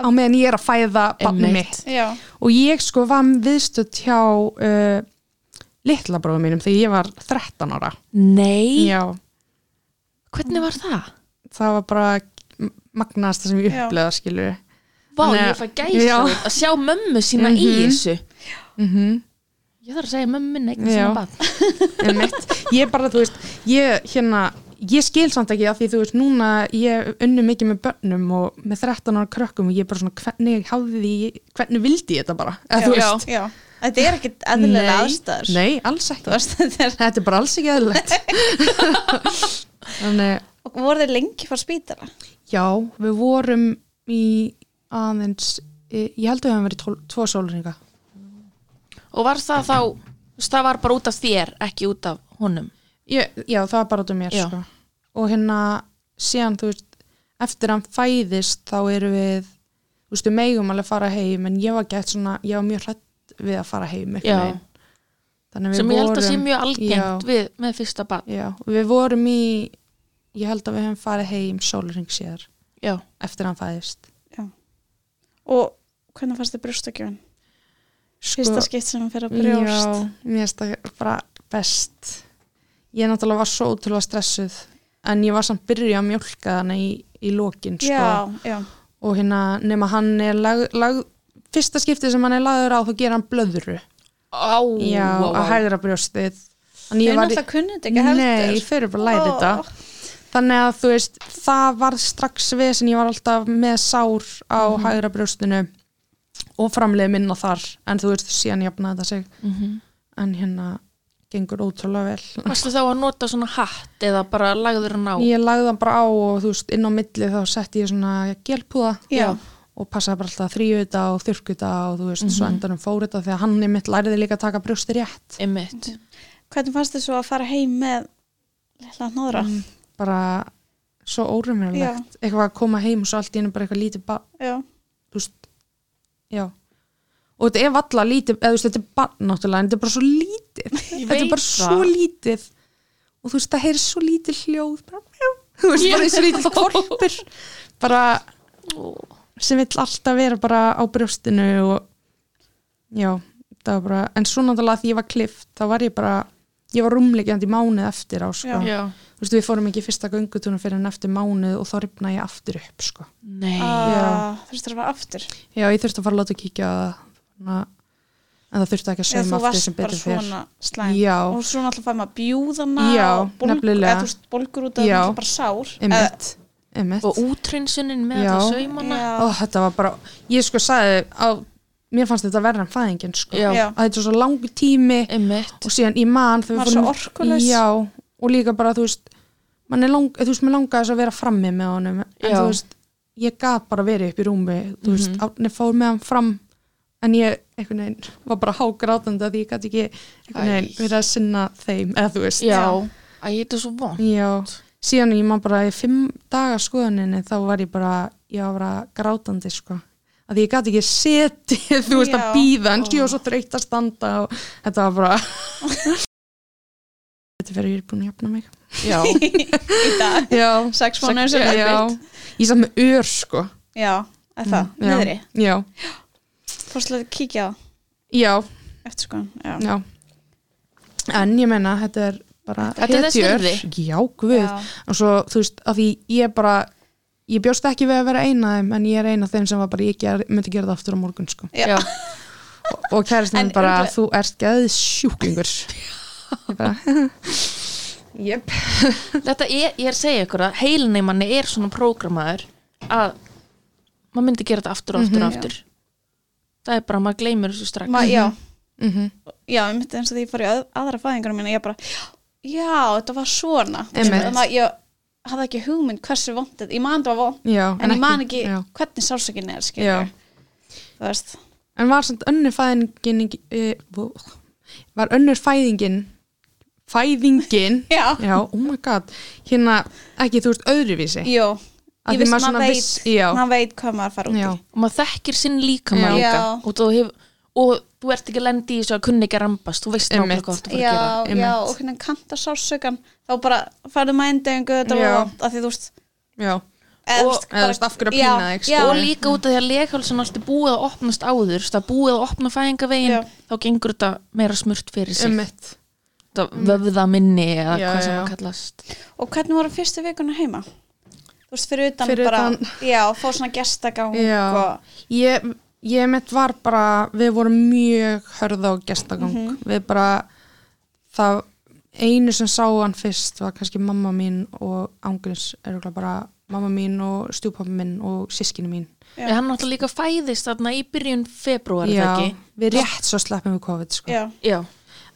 á meðan ég er að fæða barnið
Einmitt.
mitt
Já.
og ég sko var viðstödd hjá uh, litla bróðum mínum þegar ég var 13 ára
nei,
já,
hvernig var það?
það var bara magnaðast það sem ég
Já.
uppleða skilur
Vá,
Nei.
ég fæ gæsa
Já.
að sjá mömmu sína í þessu Mhm. Ég þarf að segja mömmu minna eitthvað
Já.
sína bann
Einmitt. ég bara, þú veist ég, hérna, ég skil samt ekki að því þú veist, núna ég unnu mikið með börnum og með 13 ára krökkum og ég bara svona, hvernig hafði því hvernig vildi ég þetta bara
Já.
eða, þú veist,
Já. þetta er ekkit eðlilega
Nei.
aðstæður
nei, alls
Þú
ekki
veist, [laughs] þetta er-
þetta er bara alls ekki eðlilegt
[laughs]
þannig,
og voru þið lengi frá spítala
já, við vorum í aðeins eh, ég held að við hefum verið tól, tvo sólringa
Og var það þá, þú veist, það var bara út af þér, ekki út af honum
Ég, já, það var bara út um mér
Já.
sko. og hérna síðan þú veist eftir hann fæðist þá erum við þú veist, við megum alveg fara heim en ég var gett svona, ég var mjög hrætt við að fara heim
Já.
einhvern veginn. Þannig við
sem ég held að sé
vorum-
mjög algengt
Já.
við, með fyrsta barn
Já, við vorum í ég held að við hefum farið heim sólring síðar
já,
eftir hann fæðist
og hvernig fannst þið brjóstakjöfun? Fyrsta skipt sem hann fer að brjóst
Sko, Já, sko. mér finnst það bara best Ég náttúrulega var svo ótrúlega stressuð en ég var samt byrjuð að mjólka hana í, í lokin sko.
já, já,
og hérna nema hann er lag, lag, fyrsta skiptið sem hann er lagður á þá gera hann blöðru
á,
já, á hægra brjóstið Þannig
þau
ég var í-
náttúrulega kunnið þetta ekki heldur
Nei, ég fyrir bara að læra þetta Þannig að þú veist, það var strax vesen, ég var alltaf með sár á
Mhm.
hægra brjóstinu og framleið minna þar, en þú veist, síðan jafnaði þetta sig, en hérna gengur ótrúlega vel.
Mhm. varstu þá að nota svona hatt eða bara lagður hann á
Ég lagði hann bara á og þú veist, inn á milli þá setti ég svona gelpúða
Já.
og passaði bara alltaf að þrýu þetta og þurrku þetta og þú veist, svo endanum fór þetta því að hann er mitt læriði líka að taka brjósti rétt.
einmitt,
Hvernig fannst þið svo að fara heim með lilla hnoðra?
Mm. Bara svo óraumverulegt, eitthvað að koma heim og svo allt í hennu bara eitthvað lítið bara
Já,
þú veist já og þetta er valla lítið, eða þú veist þetta er barn náttúrulega en þetta er bara svo lítið þetta er
veit
bara
það.
svo lítið og þú veist það heyrir svo lítið hljóð bara, mjá, þú veist bara þessu lítið korpur bara sem vill alltaf vera bara á brjóstinu og já, það var bara en svo náttúrulega því ég var klift þá var ég bara, ég var rúmlegjandi mánuð eftir á sko,
Já.
já,
þú veist við fórum ekki í fyrsta göngutúna fyrir en eftir mánuð og þá ripna ég aftur upp sko
nei
Ah, þurfti að fara aftur
Já, ég þurfti að fara að láta kíkja á það, svona, en það þurfti ekki að
Eða
segja
þú
aftur
varst
sem
bara
betur fyrr.
svona slæm
Já.
og svona alltaf fæði maður bjúðana
Já,
og bólgur,
nefnilega.
eða þú veist bólgur út af
Já.
náttúrulega bara sár
Einmitt,
eh,
einmitt.
og útrinsunin með
Já.
það saumana
Já.
Ó, þetta var bara, ég sko sagði á, mér fannst þetta verra en fæðingin, sko.
Já.
Já.
Að þetta var svo langur tími
einmitt,
og síðan í mann þegar
Maður er
við
svo
fórum.
orkulaus.
Já, og líka bara, þú veist, mann er lang, þú veist, mér langaði þess að vera frammi með honum, en
Já.
þú veist, ég gaf bara verið upp í rúmi, þú veist,
Mhm.
átni fór með hann fram, en ég, einhvern veginn, var bara hágrátandi að því ég gæti ekki, einhvern veginn,
Æ.
verið að sinna þeim, eða þú veist.
já að ég þetta er svo
[laughs]
von
Já, síðan ég maður bara í fimm daga skoðuninni þá var ég bara, ég var bara grátandi sko. Að því ég gæti ekki setið, þú veist,
Já.
að býða en ég var svo þreytt að standa og þetta var bara... [laughs] þetta verður ég er búin að jafna mig.
já,
í dag
Já,
sex mánuðir sem
já. Ég er samt með ör sko.
já, eða það,
Mm, Já.
niðri
Já,
fórstulega kíkja á
já,
eftir sko já.
já. En ég meina, þetta er bara...
Þetta er þess
hetjur.
virði.
Já, guð.
Já.
og svo þú veist að því ég bara ég bjóst ekki við að vera eina af þeim en ég er eina af þeim sem var bara ég ger, myndi gera það aftur á morgun sko
Já.
já.
og, og kæristinn
En
minn bara
örugglega-
þú ert geðið sjúklingur ég bara [laughs] yep.
Þetta er, ég er að segja ykkur að heilinni manni er svona prógramaður að maður myndi gera þetta aftur og aftur og
Mhm.
aftur. Það er bara að maður gleymir þessu strax.
Ma, já,
mm -hmm.
já, ég myndi eins og því ég fór í að, aðra fæðingar mína, ég bara já, þetta var svona Þú veist,
Einmitt.
þannig að ég hafði ekki hugmynd hversu vondið, ég man það var vond
já,
en, ég man ekki
já.
hvernig sársakinni er
Já.
skilur þú veist,
en var samt önnur fæðingin e, vó, var önnur fæðingin fæðingin
[laughs] já,
já, oh my god hérna ekki þú veist öðruvísi
jú
Að
ég
því
vissi
maður
maður
svona
veit,
viss- já.
maður veit hvað maður fara út
já,
í
Og maður þekkir sinn líka maður
Já.
líka
Já.
og þú, hef, og þú ert ekki að lendi í þessu að kunni ekki að rambast. Þú veist
Einmitt.
nákvæmlega hvað þú ert að fara að gera.
já,
gera,
já,
einmitt.
og hvernig kanta sársökan þá bara farðu mændingu þetta var
Já.
vond, af því þú veist
já,
eða
Og-
veist,
eða þú veist, af hverju að pína þig,
já,
sko.
Og líka út af því að leghálsin allt er búið að opnast áður, þú veist, það er búið að opna fæðingavegin,
Já.
þá gengur þetta meira smurt fyrir sig.
ummitt
Þetta vöfða minni eða
Mm. Já,
hvað sem
já.
það kallast.
já. og hvernig voru fyrstu vikuna heima þú veist, fyrir utan
Fyrir
bara
utan-
já, fá svona gestagang
Já.
og
Ég, ég mitt var bara, við vorum mjög hörð á gestagang. Við bara, það einu sem sá hann fyrst var kannski mamma mín og ángrins eru bara mamma mín og stjúpappa minn og sískinu mín.
Já.
En hann náttúrulega líka fæðist þarna í byrjun februari,
Já,
það ekki?
við rétt svo sleppum við COVID sko.
já,
Já.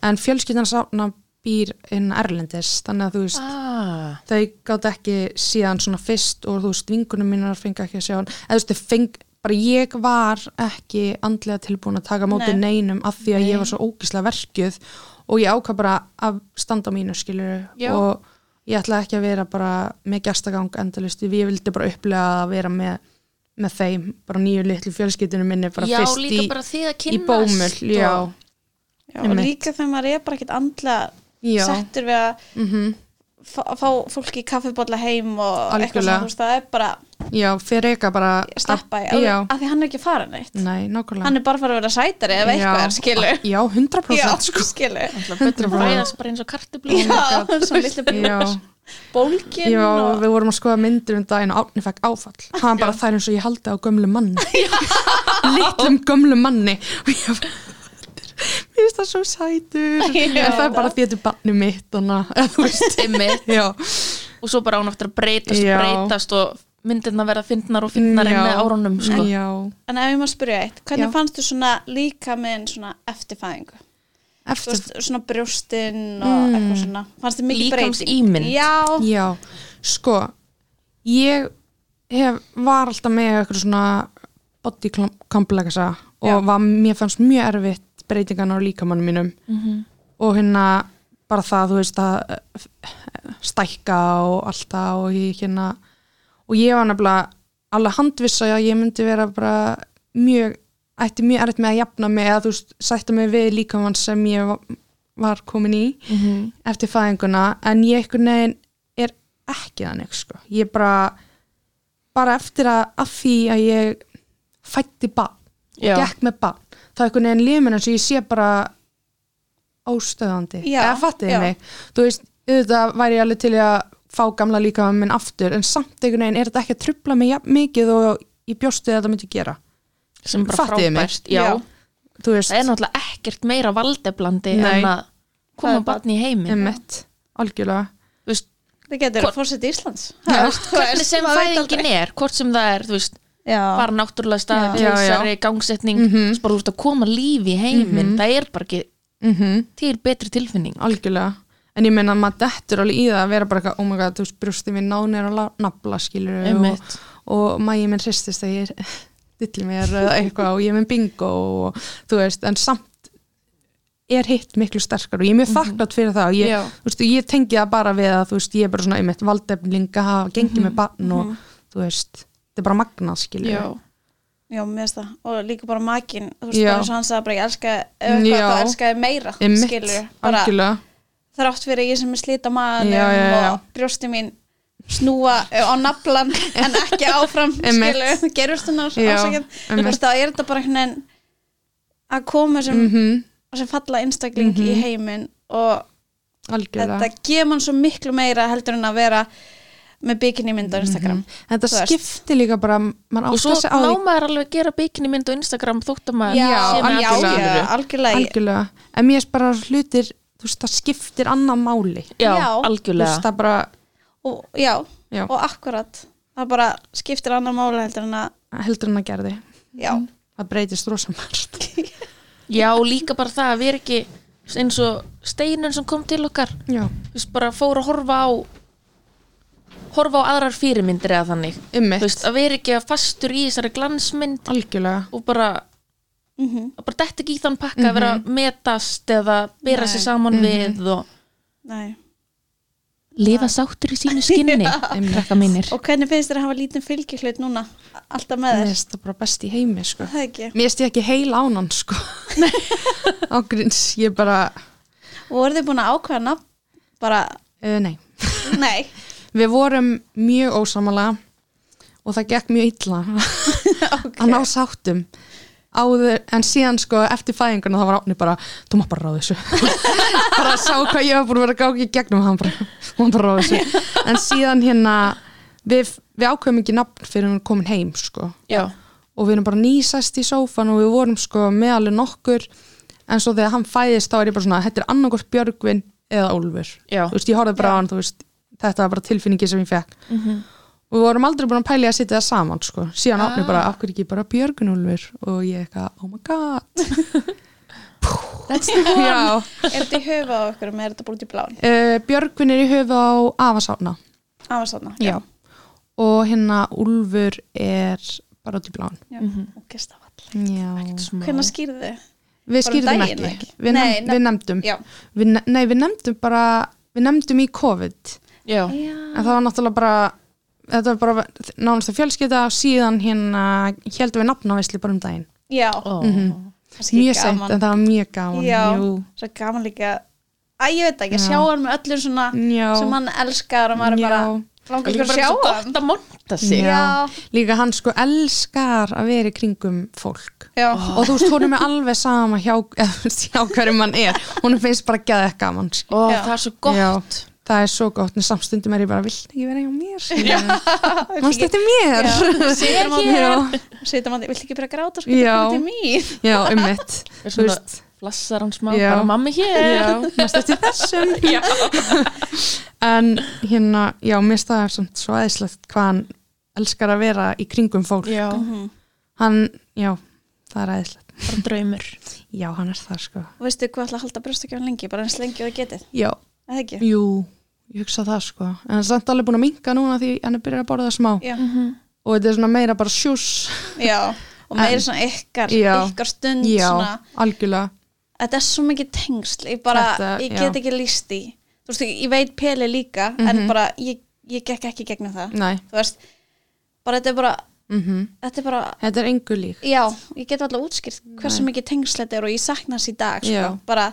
En fjölskyldan sána býr inn Erlendis, þannig að þú veist,
Ah,
þau gátt ekki síðan svona fyrst og þú veist, vingunum mínar fengi ekki að sjá hann eða þú veist, þau feng, bara ég var ekki andlega tilbúin að taka á móti
Nei.
neinum af því að ég var svo ógislega verkjuð og ég ákvað bara að standa á mínu skilur
Já.
og ég ætla ekki að vera bara með gestagang endalist, ég vildi bara upplega að vera með, með þeim bara nýju litlu fjölskyldinu minni bara
já,
fyrst
líka
í,
bara þið að
í
kynast
bómull já,
Já, og
Einmitt.
líka þegar maður er bara ekkert andlega
já,
settur við að
mm
fá, fá fólk í kaffibólla heim og eitthvað
Algjörlega.
svona, þú veist, það er bara
já fyrir eitthvað bara
að sleppa í,
já,
alveg- af því hann er ekki að fara neitt
nei, nákvæmlega
hann er bara að fara að vera sætari eða eitthvað,
Já. Ah,
skilu
[laughs] já, 100%
já,
sko
skilu
[laughs]
Bötnum fræðast bara eins og kartublum
já, [laughs] svona litlu
já,
bólkin
já,
og
við vorum að skoða myndir um daginn og Árni fekk áfall hann bara þær eins og ég haldi á gömlum manni
[laughs]
litlum gömlum manni og ég bara mér finnst það svo sætur
Já.
en það er bara því að þetta er barni mitt þannig að þú veist
Timmi
já,
og svo bara án aftur að breytast
Já.
og breytast og myndirna verða fyndnar og fyndnar
Já.
inn með árunum sko.
já.
en ef ég maður spyrja eitt, hvernig
Já.
fannst þú svona líka minn svona eftirfæðingu Þú
eftir
veist, svona brjóstinn og eitthvað svona fannst þið mikið breyting
Líkams ímynd.
já,
já, sko ég hef, var alltaf með eitthvað svona body komplexa
Já.
og var, mér fannst mjög erfitt breytingan á líkamannum mínum
Mhm.
og hérna bara það, þú veist, að eh, stækka og allt það og ég hérna og ég var nefnilega alveg handvissa að ég myndi vera bara mjög, ætti mjög erfitt með að jafna mig eða þú veist, sætta mig við líkamann sem ég var, var komin í
Mhm.
eftir fæðinguna en ég einhvern veginn er ekki þannig sko. ég bara bara eftir að, að því að ég fætti barn
Já.
gekk með barn, það er einhvern veginn limin eins og ég sé bara óstöðandi,
Já,
eða fattiði
já.
mig þú veist, auðvitað væri ég alveg til í að fá gamla líkamann minn aftur en samt einhvern veginn er þetta ekki að trubla mig jafn mikið og ég bjóstu að þetta myndi gera
sem er bara
Fattiði mig.
frábært já.
Já.
þú veist,
það er náttúrulega ekkert meira valdeblandi
Nei.
en að
Það
koma
er bara-
barni í heiminn
emitt algjörlega
Þú veist,
það getur
Hvor-
að fórseta Íslands
þú
Ha,
veist,
þú
hvernig
veist,
sem
maður veit
fæðingin
aldrei.
er hvort sem það er, þú veist,
já,
bara náttúrulega stað
Já, já.
heilsari, gangsetning mm
Mhm.
bara úr að koma lífi í heiminn það er bara ekki
mhm
til betri tilfinning
algjörlega en ég meina að maður dettur alveg í það að vera bara eitthvað, oh my god, þú veist, brjóstið mér nánir og nafla skilur og,
Einmitt.
og mægi minn hristist þegar ég [laughs] dillir mér eða eitthvað og ég er með bingo og þú veist, en samt er hitt miklu sterkar og ég er
Mhm.
mjög þakklátt fyrir það og
Já.
ég, þú veist, ég tengi það bara við að þú veist, ég er bara svona einmitt valdefling að hafa gengið með barn og þú veist, þetta er bara magnað skilur
Mhm. já, mér finnst það, og líka bara makin þú veist,
Já.
bara eins og hann sagði bara ég elska ef eitthvað,
Já.
þá elskaði meira,
einmitt,
skilur bara
algjörlega
þrátt fyrir ég sem er slita maðanum
Já, já, já.
og brjósti mín snúa eh, á naflan [laughs] en ekki áfram
Einmitt.
skilu, gerur þennar
Já,
ásakið Þú
einmitt.
veist, þá er þetta bara einhvern veginn að koma sem,
mm Mhm.
sem falla einstakling í heiminn og
algjörlega
þetta gefur mann svo miklu meira heldur en að vera með bikini mynd á
Mhm.
Instagram
þetta
Þú veist.
skiptir líka bara maður
og svo
áttar sig á
má
því
maður alveg gera bikini mynd á Instagram þótt að maður
já,
sé með
já,
algjörlega.
já,
skilurðu.
algjörlega,
algjörlega, en mér er bara hlutir þú veist, það skiptir annað máli
já,
Já.
þú
algjörlega
veist, það bara,
Og, já,
Já.
og akkurat það bara skiptir annar mála heldur en að
heldur en að gerði
já,
það breytist rosamart
[laughs] já, líka bara það að við erum ekki eins og steinun sem kom til okkar
já,
þú veist, bara fór að horfa á horfa á aðrar fyrirmyndir eða þannig þú
ummitt,
veist, að vera ekki að fastur í þessari glansmynd
algjörlega
og bara
Mhm.
Mhm.
að bara detta ekki í þann pakka að vera að metast eða bera
Nei.
sig saman við og
nei
lifa sáttur í [laughs] sínu skinni krakka mínir
Og hvernig finnst þér að hafa lítinn fylgihlut núna? Alltaf með
mér
þér?
finnst það bara best í heimi sko.
Það ekki.
mér finnst ég ekki heil ánan
[laughs]
sko. ágrins, ég bara
Og voruð þið búin að ákveða nafn? Bara,
uh, nei, [laughs]
nei.
við vorum mjög ósamalega og það gekk mjög illa [laughs] að ná sáttum áður, en síðan sko eftir fæðinguna þá var Átni bara, þú mátt bara ráða þessu [laughs] bara sá hvað ég var búin að vera að gáki í gegnum hann bara, hún bara ráða þessu en síðan hérna við, við ákveðum ekki nafn fyrir hún er komin heim sko
já,
og við erum bara nýsæst í sófan og við vorum sko með alveg nokkur en svo þegar hann fæðist þá er ég bara svona þetta er annarkort Björgvin eða Úlfur
Já.
þú veist, ég horfði bara á hann, þú veist þetta var bara tilfinningi sem ég fekk og við vorum aldrei búin að pæli að setja það saman sko síðan ah. átni bara, af hverju ekki bara Björgvin Úlfur og ég eitthvað, oh my god that's the one Já,
Er þetta í höfu á okkur með er þetta búin til blán?
uh, Björgvin er í höfu á afasána
Afasanna.
og hérna Úlfur er bara út í blán
Já.
Mhm.
Og gesta vall.
Já.
Hvernig skýrðu þið? Bara
Við
um
skýrðum
daginn,
ekki,
ekki?
Við,
Nei,
nefnd, við nefndum
Já.
við, ne- Nei, við nefndum bara Við nefndum í COVID
já,
en það var náttúrulega bara þetta var bara nánast að fjölskylda og síðan hérna heldum við nafnavisli bara um daginn
já,
ó,
kannski
mjög seint
gaman.
en það var mjög gaman
Já.
Jú.
svo gaman líka Æ, ég veit ekki,
Já.
að sjá hann með öllum svona
Já.
sem hann elskar og maður
Já.
er bara
líka
langar ekki að
bara
sjá
svo
hann
gott að monta sig
Já.
Já,
líka hann sko elskar að vera í kringum fólk
já,
og þú veist, hún er með alveg sama hjá, eða, þú veist, hjá hverjum hann er hún finnst bara gæða ekki gaman skilur.
og
Já.
það er svo gott
Já, það er svo gott, en samstundum er ég bara vilt ekki vera hjá mér skilur.
[laughs]
manstu eftir
já.
mér [laughs]
Situr maður-
Já.
Situr maður, vilt ekki byrja að gráta, sko,
Já.
þetta er mín
[laughs] já, um mitt
Er
þú
svona-
veist
flassar hann smá,
Já.
bara mammi hér
Já,
[laughs]
mest eftir þessum En hérna, já, mér staði samt svo aðeinslegt hvað hann elskar að vera í kringum fólk
já,
Hann, já, það er aðeinslegt
bara draumur
Já, hann er það sko
Og veistu hvað ætla að halda brjóstakjón lengi, bara eins lengi og það getið,
Já,
eða ekki?
jú, ég hugsa það sko En hann er samt alveg búin að minka núna því hann er byrjað að borða smá
Já,
Og þetta er svona meira bara sjús
já, og meira svona ykkar,
Já.
ykkar stund
Já,
svona
algjörlega
þetta er svo mikið tengsl ég bara,
Þetta,
ég
já.
get ekki líst í þú veist, ég veit peli líka
Mhm.
en bara, ég, ég gekk ekki gegnum það
Nei,
þú veist, bara þetta er bara
mm
þetta er bara,
þetta er engu lík
já, ég get alltaf útskýrt hversu mikið tengsl þetta er og ég sakna þess í dag,
Já.
sko, bara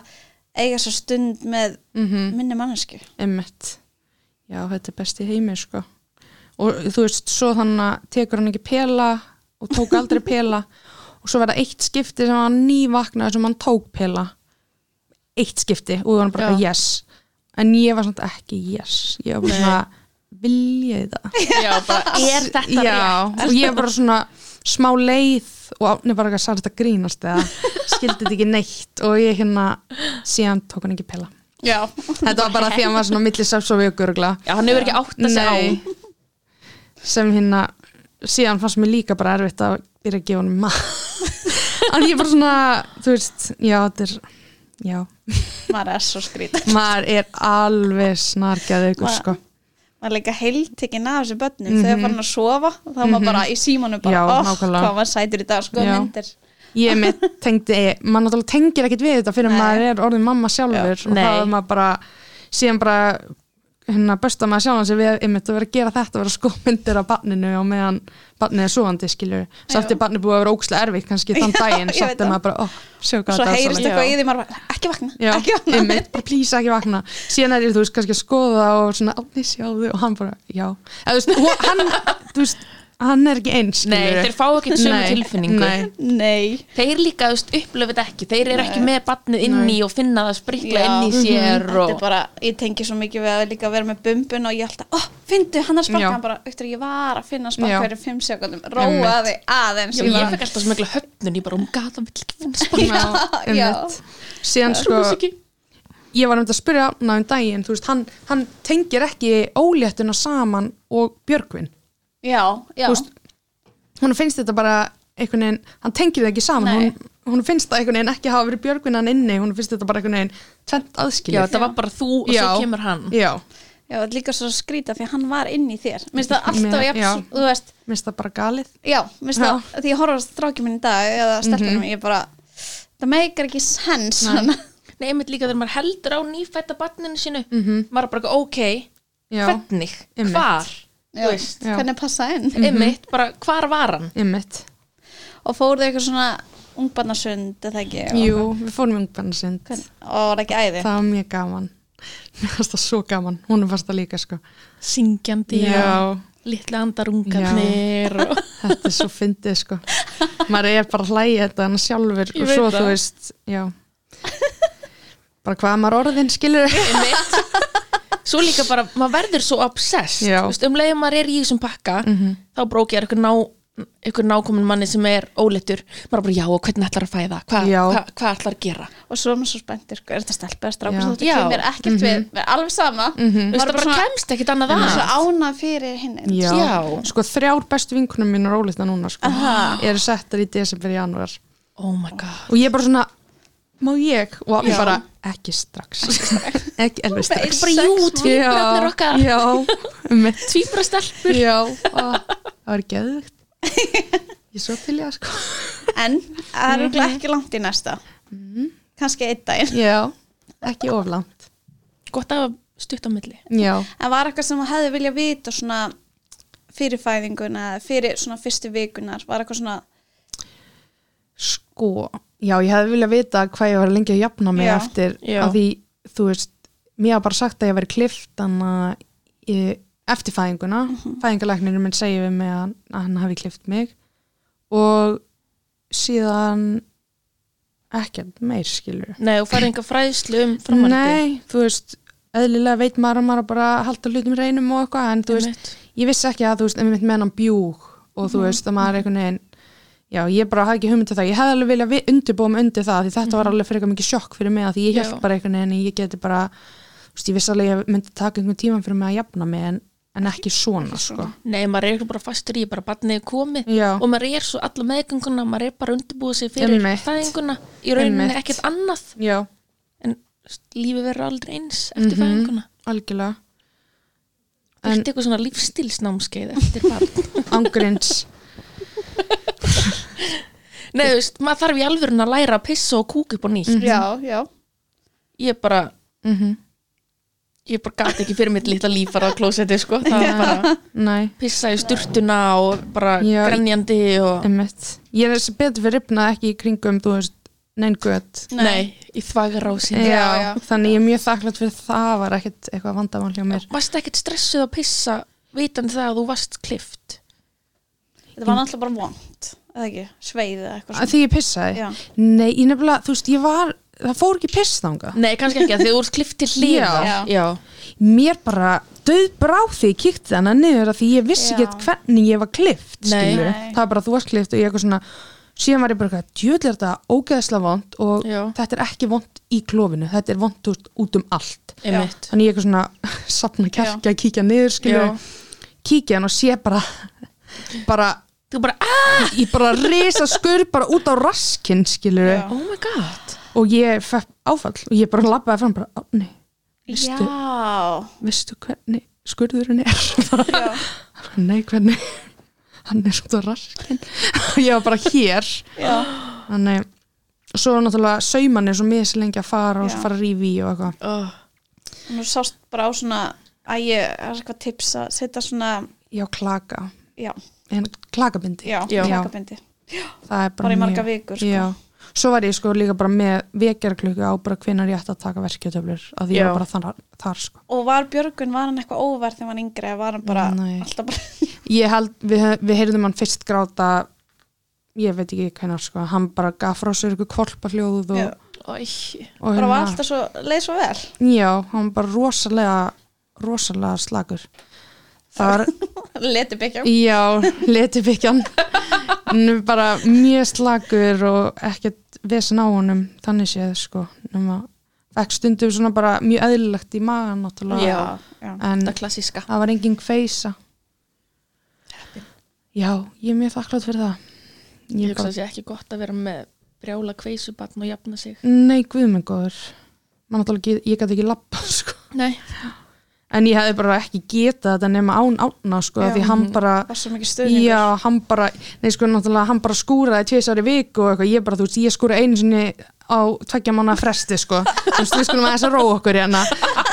eiga svo stund með
mm
minni mannesku
Emmett. Já, þetta er besti heimi, sko. Og þú veist, svo þannig að tekur hann ekki pela og tók aldrei [laughs] pela og svo verða eitt skipti sem hann nývaknaði sem hann tók pela. Eitt skipti og hann bara,
Já.
yes. En ég var svona ekki, yes. Ég var bara svona, vilja þetta.
já, bara, er þetta
Já, og ég var bara svona smá leið og átni bara eitthvað sarta grínast [laughs] eða skildi þetta ekki neitt og ég hérna síðan tók hann ekki pela.
já,
Þetta [laughs] var bara því að hann var svona millisafs og vökuruglega
já, hann hefur ekki átt að segja á
Nei. sem hérna síðan fannst mér líka bara erfitt að byrja að gefa honum maður en ég er bara svona, þú veist já, þetta er, já
[laughs] maður er svo skrýt
maður er alveg snarkjað ykkur,
Maður-
sko
maður er líka heiltekinn af þessu börnum þegar farin að sofa, þá er maður bara í símanum bara,
Mhm. Já,
oh,
nákvæmlega.
hvað maður sætur í dag, sko,
Já.
myndir
ég með tengdi, maður náttúrulega tengir ekkert við þetta fyrir
Nei.
að maður er orðin mamma sjálfur og
Nei.
þá er maður bara síðan bara hérna bösta maður sjálfan sig við einmitt að vera að gera þetta, vera skómyndir af barninu og meðan barnið er svoandi skilur samt er barnið búið að vera ókslega erfitt kannski þann
[laughs] Já,
daginn,
ég veit
samt er
það.
maður bara oh, sjá hvað
svo
þetta er
heyrist
dásamlegt."
eitthvað í því maður bara, ekki vakna,
Já,
ekki vakna
einmitt, bara plísa ekki vakna síðan er ég, þú veist, kannski að skoða og svona, átni sjáðu og hann bara, já eða, þú veist, og hann, þú veist hann er ekki eins,
Nei,
skilurðu.
þeir fá ekki sömu
Nei,
tilfinningu
nei.
Nei,
Þeir líka þú veist, upplöfið ekki, þeir eru ekki með batnið inni og finna það sprikla
Já. Mhm.
inn
Mhm.
í sér
þetta er
og
bara, ég tengi svo mikið við að líka vera með bumbun og ég alltaf, oh, fyndu, hann er að
Já.
sparka, hann bara, auktur, ég var að finna að
Já.
sparka hverju fimm sekundum,
Einmitt.
róaði aðeins,
Já, ég fekk alltaf smegla höfnun, ég bara, "Oh hún gata vill ekki finna spara
Já,
[laughs] já.
einmitt.
[laughs]
síðan sko, ég var um þetta að spyrja ná um daginn, þú veist, hann, hann tengir ekki óléttuna saman og Björgvin,
já, já,
Þú veist, hún finnst þetta bara einhvern veginn, hann tengir það ekki saman
Nei.
hún, hún finnst það einhvern veginn ekki hafa verið Björgvin hann inni, hún finnst þetta bara einhvern veginn tvent
Já,
aðskilið
þetta var bara þú og svo kemur hann
já,
já, þetta er líka svo skrýta því að hann var inn í þér, minnst það alltaf,
Mér-
jafn,
já.
þú veist,
minnst það bara galið
já, minnst það, því ég horfði á strákjum minn í dag eða stelpunum, mm ég bara, það meikar ekki sens, svona,
Mhm. Nei, einmitt líka þegar maður heldur á nýfætta batninu sínu maður er bara, eitthvað, ok,
Mhm. já,
hvernig,
Einmitt. Mhm.
hvar
já,
Þú veist. Mm.
Já.
hvernig passa inn,
einmitt, bara, hvar var hann?
ymmit
og fóruðu eitthvað svona ungbarnasund, eða ekki, og,
Jú, við fórum í ungbarnasund
Hvern- og var ekki æði,
Það var mjög gaman [laughs] Mér fannst það svo gaman, hún fannst það líka sko
Syngjandi og litli andarungarnir og
Þetta er svo fyndið sko Maður er bara að hlæja þetta hann sjálfur
Ég
og
veit
svo
það.
þú veist, já Bara hvað maður orðin skilur
einmitt svo líka bara, maður verður svo obsessed
Já. Mhm.
Þú veist, um leiðum maður er í þessum pakka þá brók ég er eitthvað ná eitthvað nákomin manni sem er óleittur maður er bara já og hvernig ætlar að fæða hvað
Já.
hva, hva ætlar að gera
og svo er maður svo spenntir sko, er þetta stelpa eða strákur
Já.
svo þetta
Já.
kemur ekkert við, við alveg sama
Mhm.
Þú veist,
maður
það
er bara
bara
svona,
kemst ekkit annað
svona svo
að
ánað fyrir hinn
já.
Já.
Sko þrjár bestu vinkunum mín er ólita núna sko
Aha.
Eru settar í desember í janúar
oh my god
Og ég er bara svona, má ég? Og hann bara, ekki strax Ekki alveg
það er
strax
bara jú, tvíbrarnir okkar
Já, um mitt
tvíbrastelpur
Já, á, það var
[laughs]
geðvögt Ég er svo til ég að sko
en það er örugglega ekki langt í
Mm.
næsta kannski einn daginn
Já, ekki oflant
gott að stutt á milli
já,
En var eitthvað sem þú hefði viljað vita svona fyrir fæðinguna, eða fyrir svona fyrstu vikunar, var eitthvað svona
sko já, ég hefði viljað vita hvað ég var lengi að jafna mig
Já.
eftir
Já.
að því, þú veist, mér hafa bara sagt að ég væri klift þannig að eftir fæðinguna, mm
Mhm.
-hmm. fæðingalæknirinn minn segir við mig að, að hann hafi klift mig og síðan ekkert meir skilur
Nei, og farið enga fræðslu um framhaldið
Nei, þú veist, eðlilega veit maður að maður á bara að halda hlutum reynum og eitthvað en þú veist,
Einmitt.
ég vissi ekki að þú veist, einmitt með hann bjúg og þú veist að maður einhvern veginn Já, ég bara hafði ekki hugmyndið það, ég hefði alveg viljað undirbúum undir það því þetta var alveg frekar mikið sjokk fyrir mig að því ég
Já.
held bara einhvern veginn að ég geti bara, þú veist, ég vissi alveg að ég myndi taka einhvern tíman fyrir mig að jafna mig en, en ekki svona, sko.
Nei, maður er ekki bara fastur í, bara barnið er komið
Já,
og maður er svo alla meðgönguna, maður er bara undirbúið sig fyrir
Einmitt.
fæðinguna í rauninni
Einmitt.
ekkert annað
já,
en lífi verður aldrei eins eftir
Mhm.
fæðinguna
algjörlega. En-
Þetta eitthvað svona lífstilsnámskeið eftir barn
Angurins,
[laughs] Nei, þú veist, maður þarf í alvörun að læra að pissa og kúka upp á nýtt
Mhm.
Já, já
Ég bara,
mm
ég bara gati ekki fyrir mitt litla líf bara að klósetti, sko Það var bara
næ,
pissa í sturtuna og bara
Já, í-
grenjandi og
einmitt. Ég er þessi betur fyrir ripnað ekki í kringum, þú veist, nein gött.
Nei, í þvagrásin
já,
Já, já.
þannig ég er mjög þakklátt fyrir það var ekkert eitthvað vandamál hjá mér
Varst ekkert stressuð að pissa vitandi það að þú varst klift
Þetta var náttúrulega bara vond, eða ekki, sveið eða eitthvað
að því ég pissaði,
Já,
nei, ég nefnilega þú veist, ég var, það fór ekki piss þanga
Nei, kannski ekki, af því þú ert klift til hliðar
Já.
já.
mér bara döð brá því ég kíkti hana niður að því ég vissi
Já.
ekki hvernig ég var klift,
Nei.
skilju
Nei.
það var bara þú varst klift og ég eitthvað svona síðan var ég bara eitthvað, djöðlega er þetta ógeðslega vond og
Já.
þetta er ekki vond í klófinu þetta er vond út, út um allt
Einmitt.
þannig ég eitthvað svona [laughs] sapna kjarki að kíkja niður, skilju
Já.
kíkja hann og sé bara bara
Þú bara, "Ah!" aah,
ég bara risa skur bara út á raskinn skilur
já.
oh my god
og ég fekk áfall og ég bara lappaði fram bara, "Á, nei,
Já,
veistu, veistu hvernig skurðurinn er [laughs] bara, nei hvernig [laughs] hann er út á raskinn [laughs] og ég var bara hér
já,
þannig, svo var náttúrulega sauman er svo miður sér lengi að fara og svo
Já.
fara að rífi í og eitthvað
oh.
nú sást bara á svona að ég er eitthvað tips að setja svona
já, klaka,
já,
en klakabindi
já,
Já.
klakabindi
það er bara,
bara í marga
mjög-
vikur sko.
já, svo var ég sko líka bara með vekjarklukku á bara hvenar ég ætti að taka verkjötöflur að því ég
Já.
var bara þar, þar sko
og var Björgun, var hann eitthvað óverð þegar hann var yngri, eða var hann bara
Nei.
alltaf bara
ég held, við, við heyrðum hann fyrst gráta ég veit ekki hvernig sko, hann bara gaf frá sér ykkur kvolpa hljóð og,
Já.
Æ,
bara
og
var
hérna-
alltaf svo, leið svo vel [laughs]
já, hann var bara rosalega rosalega slagur það var,
leti byggja
já, letibikjan hann var bara mjög slagur og ekkert vesen á honum þannig séð sko nema, fekk stundum svona bara mjög eðlilegt í magan náttúrulega
já, já.
en
það klassíska
það var engin kveisa já, ég er mjög þakklátt fyrir það
Ég
ég
hugsa
bara
að sé ekki gott að vera með brjála kveisubatn og jafna sig
Nei, guð minn góður Man náttúrulega, ekki- ég gæti ekki lappa [laughs] sko.
Nei,
En ég hefði bara ekki getað þetta nema án átna sko,
Já.
Því hann bara
var svo mikið stuðningur
Já, hann bara, nei sko, náttúrulega hann bara skúraði tvisar í viku og eitthvað, ég bara, þú veist, ég skúra einu sinni á tveggja mánu fresti, sko þú veist, við skulum aðeins að róa okkur hérna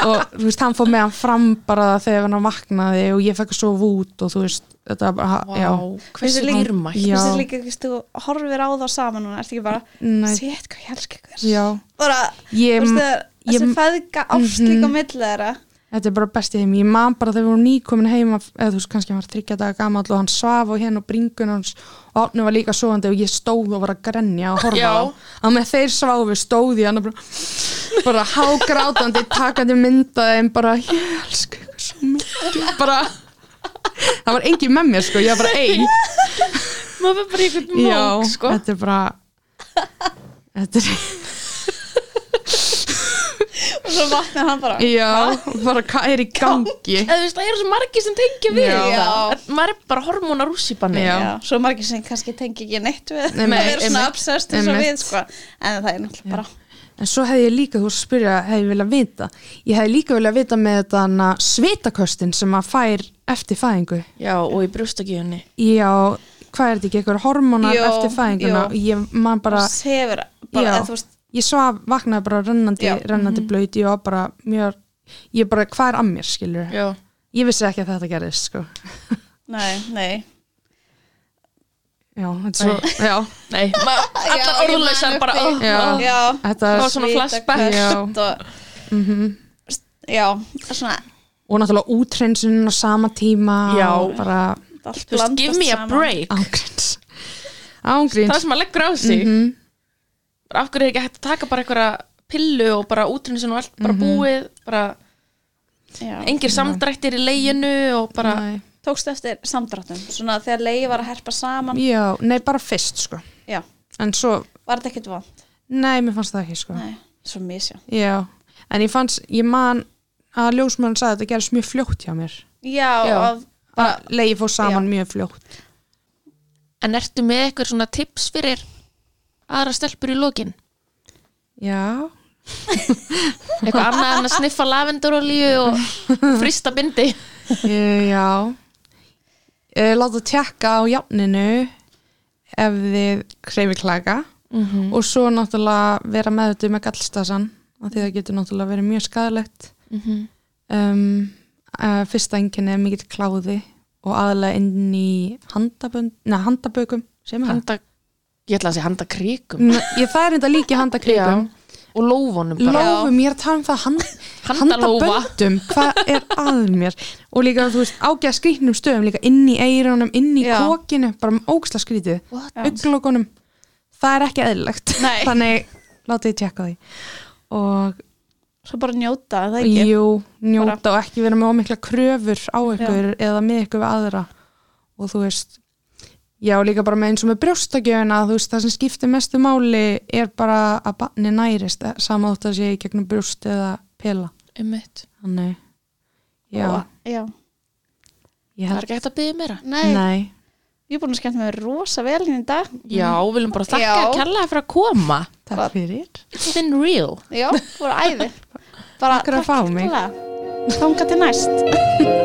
og þú veist, hann fór með hann fram bara þegar hann vaknaði og ég fekk að sofa út og þú veist, þetta var bara,
vá,
já
hversu
Finnst þér líka-
dýrmætt
Já.
Þú veist líka, þú veist, þú horfir á það saman núna, ertu ekki bara,
Nei.
sétt hvað ég elska ykkur.
já,
Bara, þú
ég,
veist, þegar þessi
ég- Mhm.
feðga ást líka á milli þeirra.
Þetta er bara bestið heim, ég man bara þegar við vorum nýkomin heim af- eða þú veist kannski hann var þryggja daga gamall og hann svaf og hérna og bringun hans og átnu var líka svoandi og ég stóð og var að grenja og horfa
Já.
á að með þeir sváfi stóð ég hann bara, bara hágrátandi takandi myndaði en bara ég elsku ykkur svo mikið bara það var engin með mér sko, ég var bara ein
Maður er bara í einhvern mók, sko
þetta er bara þetta er,
Og svo vaknar hann bara.
já, bara hvað er í gangi
Eða, þú veist, Það eru svo margir sem tengja við
Já.
það En Maður er bara hormóna rússipanni
Já.
Já, svo margir sem kannski tengi ekki neitt við
Nei,
að vera svona
einmitt,
obsessed eins og
einmitt.
við, sko. En það er náttúrulega bara,
En svo hefði ég líka, þú varst að spyrja, hefði ég viljað vita. Ég hefði líka viljað vita með þetta svitaköstin sem maður fær eftir fæðingu.
Já, og í brjóstakíunni
Já, hvað er þetta ekki, eitthvað hormonar
Jú,
eftir fæðinguna?
jú.
Ég, man bara,
bara sefur, bara,
já,
eða þú veist,
ég svaf, vaknaði bara rennandi,
Mhm.
Já.
rennandi blöyti og bara mjög ég bara, hvað er að mér, skilur
Já.
ég vissi ekki að þetta gerðist, sko
Nei, nei
já, þetta er svo, já,
Nei, ma- allar
ég
orðlausar
man
bara
eftir
oh,
því. Já.
oh.
Já,
þetta
Það
er
var svona
Svita
flashback.
kött og,
mm
Já, svona
og náttúrulega útreinsunin á sama tíma
Já.
og bara
Þú
allt
veist,
blandast
give me a
saman.
break
ángríns ángríns
Það sem maður leggur á sig mm
Mhm.
Af hverju er ekki hægt að taka bara einhverja pillu og bara útrinsin og allt bara
Mhm.
búið bara
Já.
engir samdrættir í leginu og bara
Nei.
Tókstu eftir samdráttum Svona þegar leiði var að herpa saman
já, nei, bara fyrst, sko
Já,
en svo,
var þetta ekkert vond?
nei, mér fannst það ekki, sko
Nei, svo misja
já, en ég fannst, ég man að ljósmæðan sagði að þetta gerðist mjög fljótt hjá mér
Já.
Já, já.
bara leiði fór saman mjög fljótt
En ertu með eitthvað svona tips fyrir aðra stelpur í lokin?
já,
Eitthvað annað en að sniffa lavendurolíu og [laughs] frista bindi
e, já e, láta tjekka á jafninu ef þið kreyfi klaga
Mhm.
og svo náttúrulega vera meðutu með gallstasan af því það getur náttúrulega verið mjög skadalegt
Mhm.
um, uh, fyrsta enginni er mikill kláði og aðlega inn í handabönd, neða handabökum sem er það?
Handa Ég ætla að segja handa kríkum
N- ég það er enda líka í handakríkum
og lófunum bara
lófum, ég er að tala um það hand,
Handalófa.
handaböndum, hvað er að mér og líka, þú veist, ágæða skrýtnum stöðum líka inn í eirunum, inn í
Já.
kokinu bara um óksla skrýtið,
What?
uglokunum það er ekki eðlilegt
Nei.
þannig, látið ég tjekka því og
Svo bara njóta, er það ekki
jú, njóta og ekki vera með ómikla kröfur á ykkur eða með ykkur við aðra og þú veist Já, líka bara með eins og með brjóstagjöfina, þú veist, það sem skiptir mestu máli er bara að barni nærist, eh, sama þótt að sé í gegnum brjóst eða pela.
Einmitt.
Þannig, já,
já.
ég
Það er
held,
ekki hægt að byggja meira
Nei,
nei,
ég er búin að skemmta mig rosa vel hérna í dag
Já, við viljum bara þakka
Já.
kærlega fyrir að koma
takk
Hvað-
fyrir.
It's been real
Já, voru æði Bara
Takk fyrir að fá mig.
Þanga til næst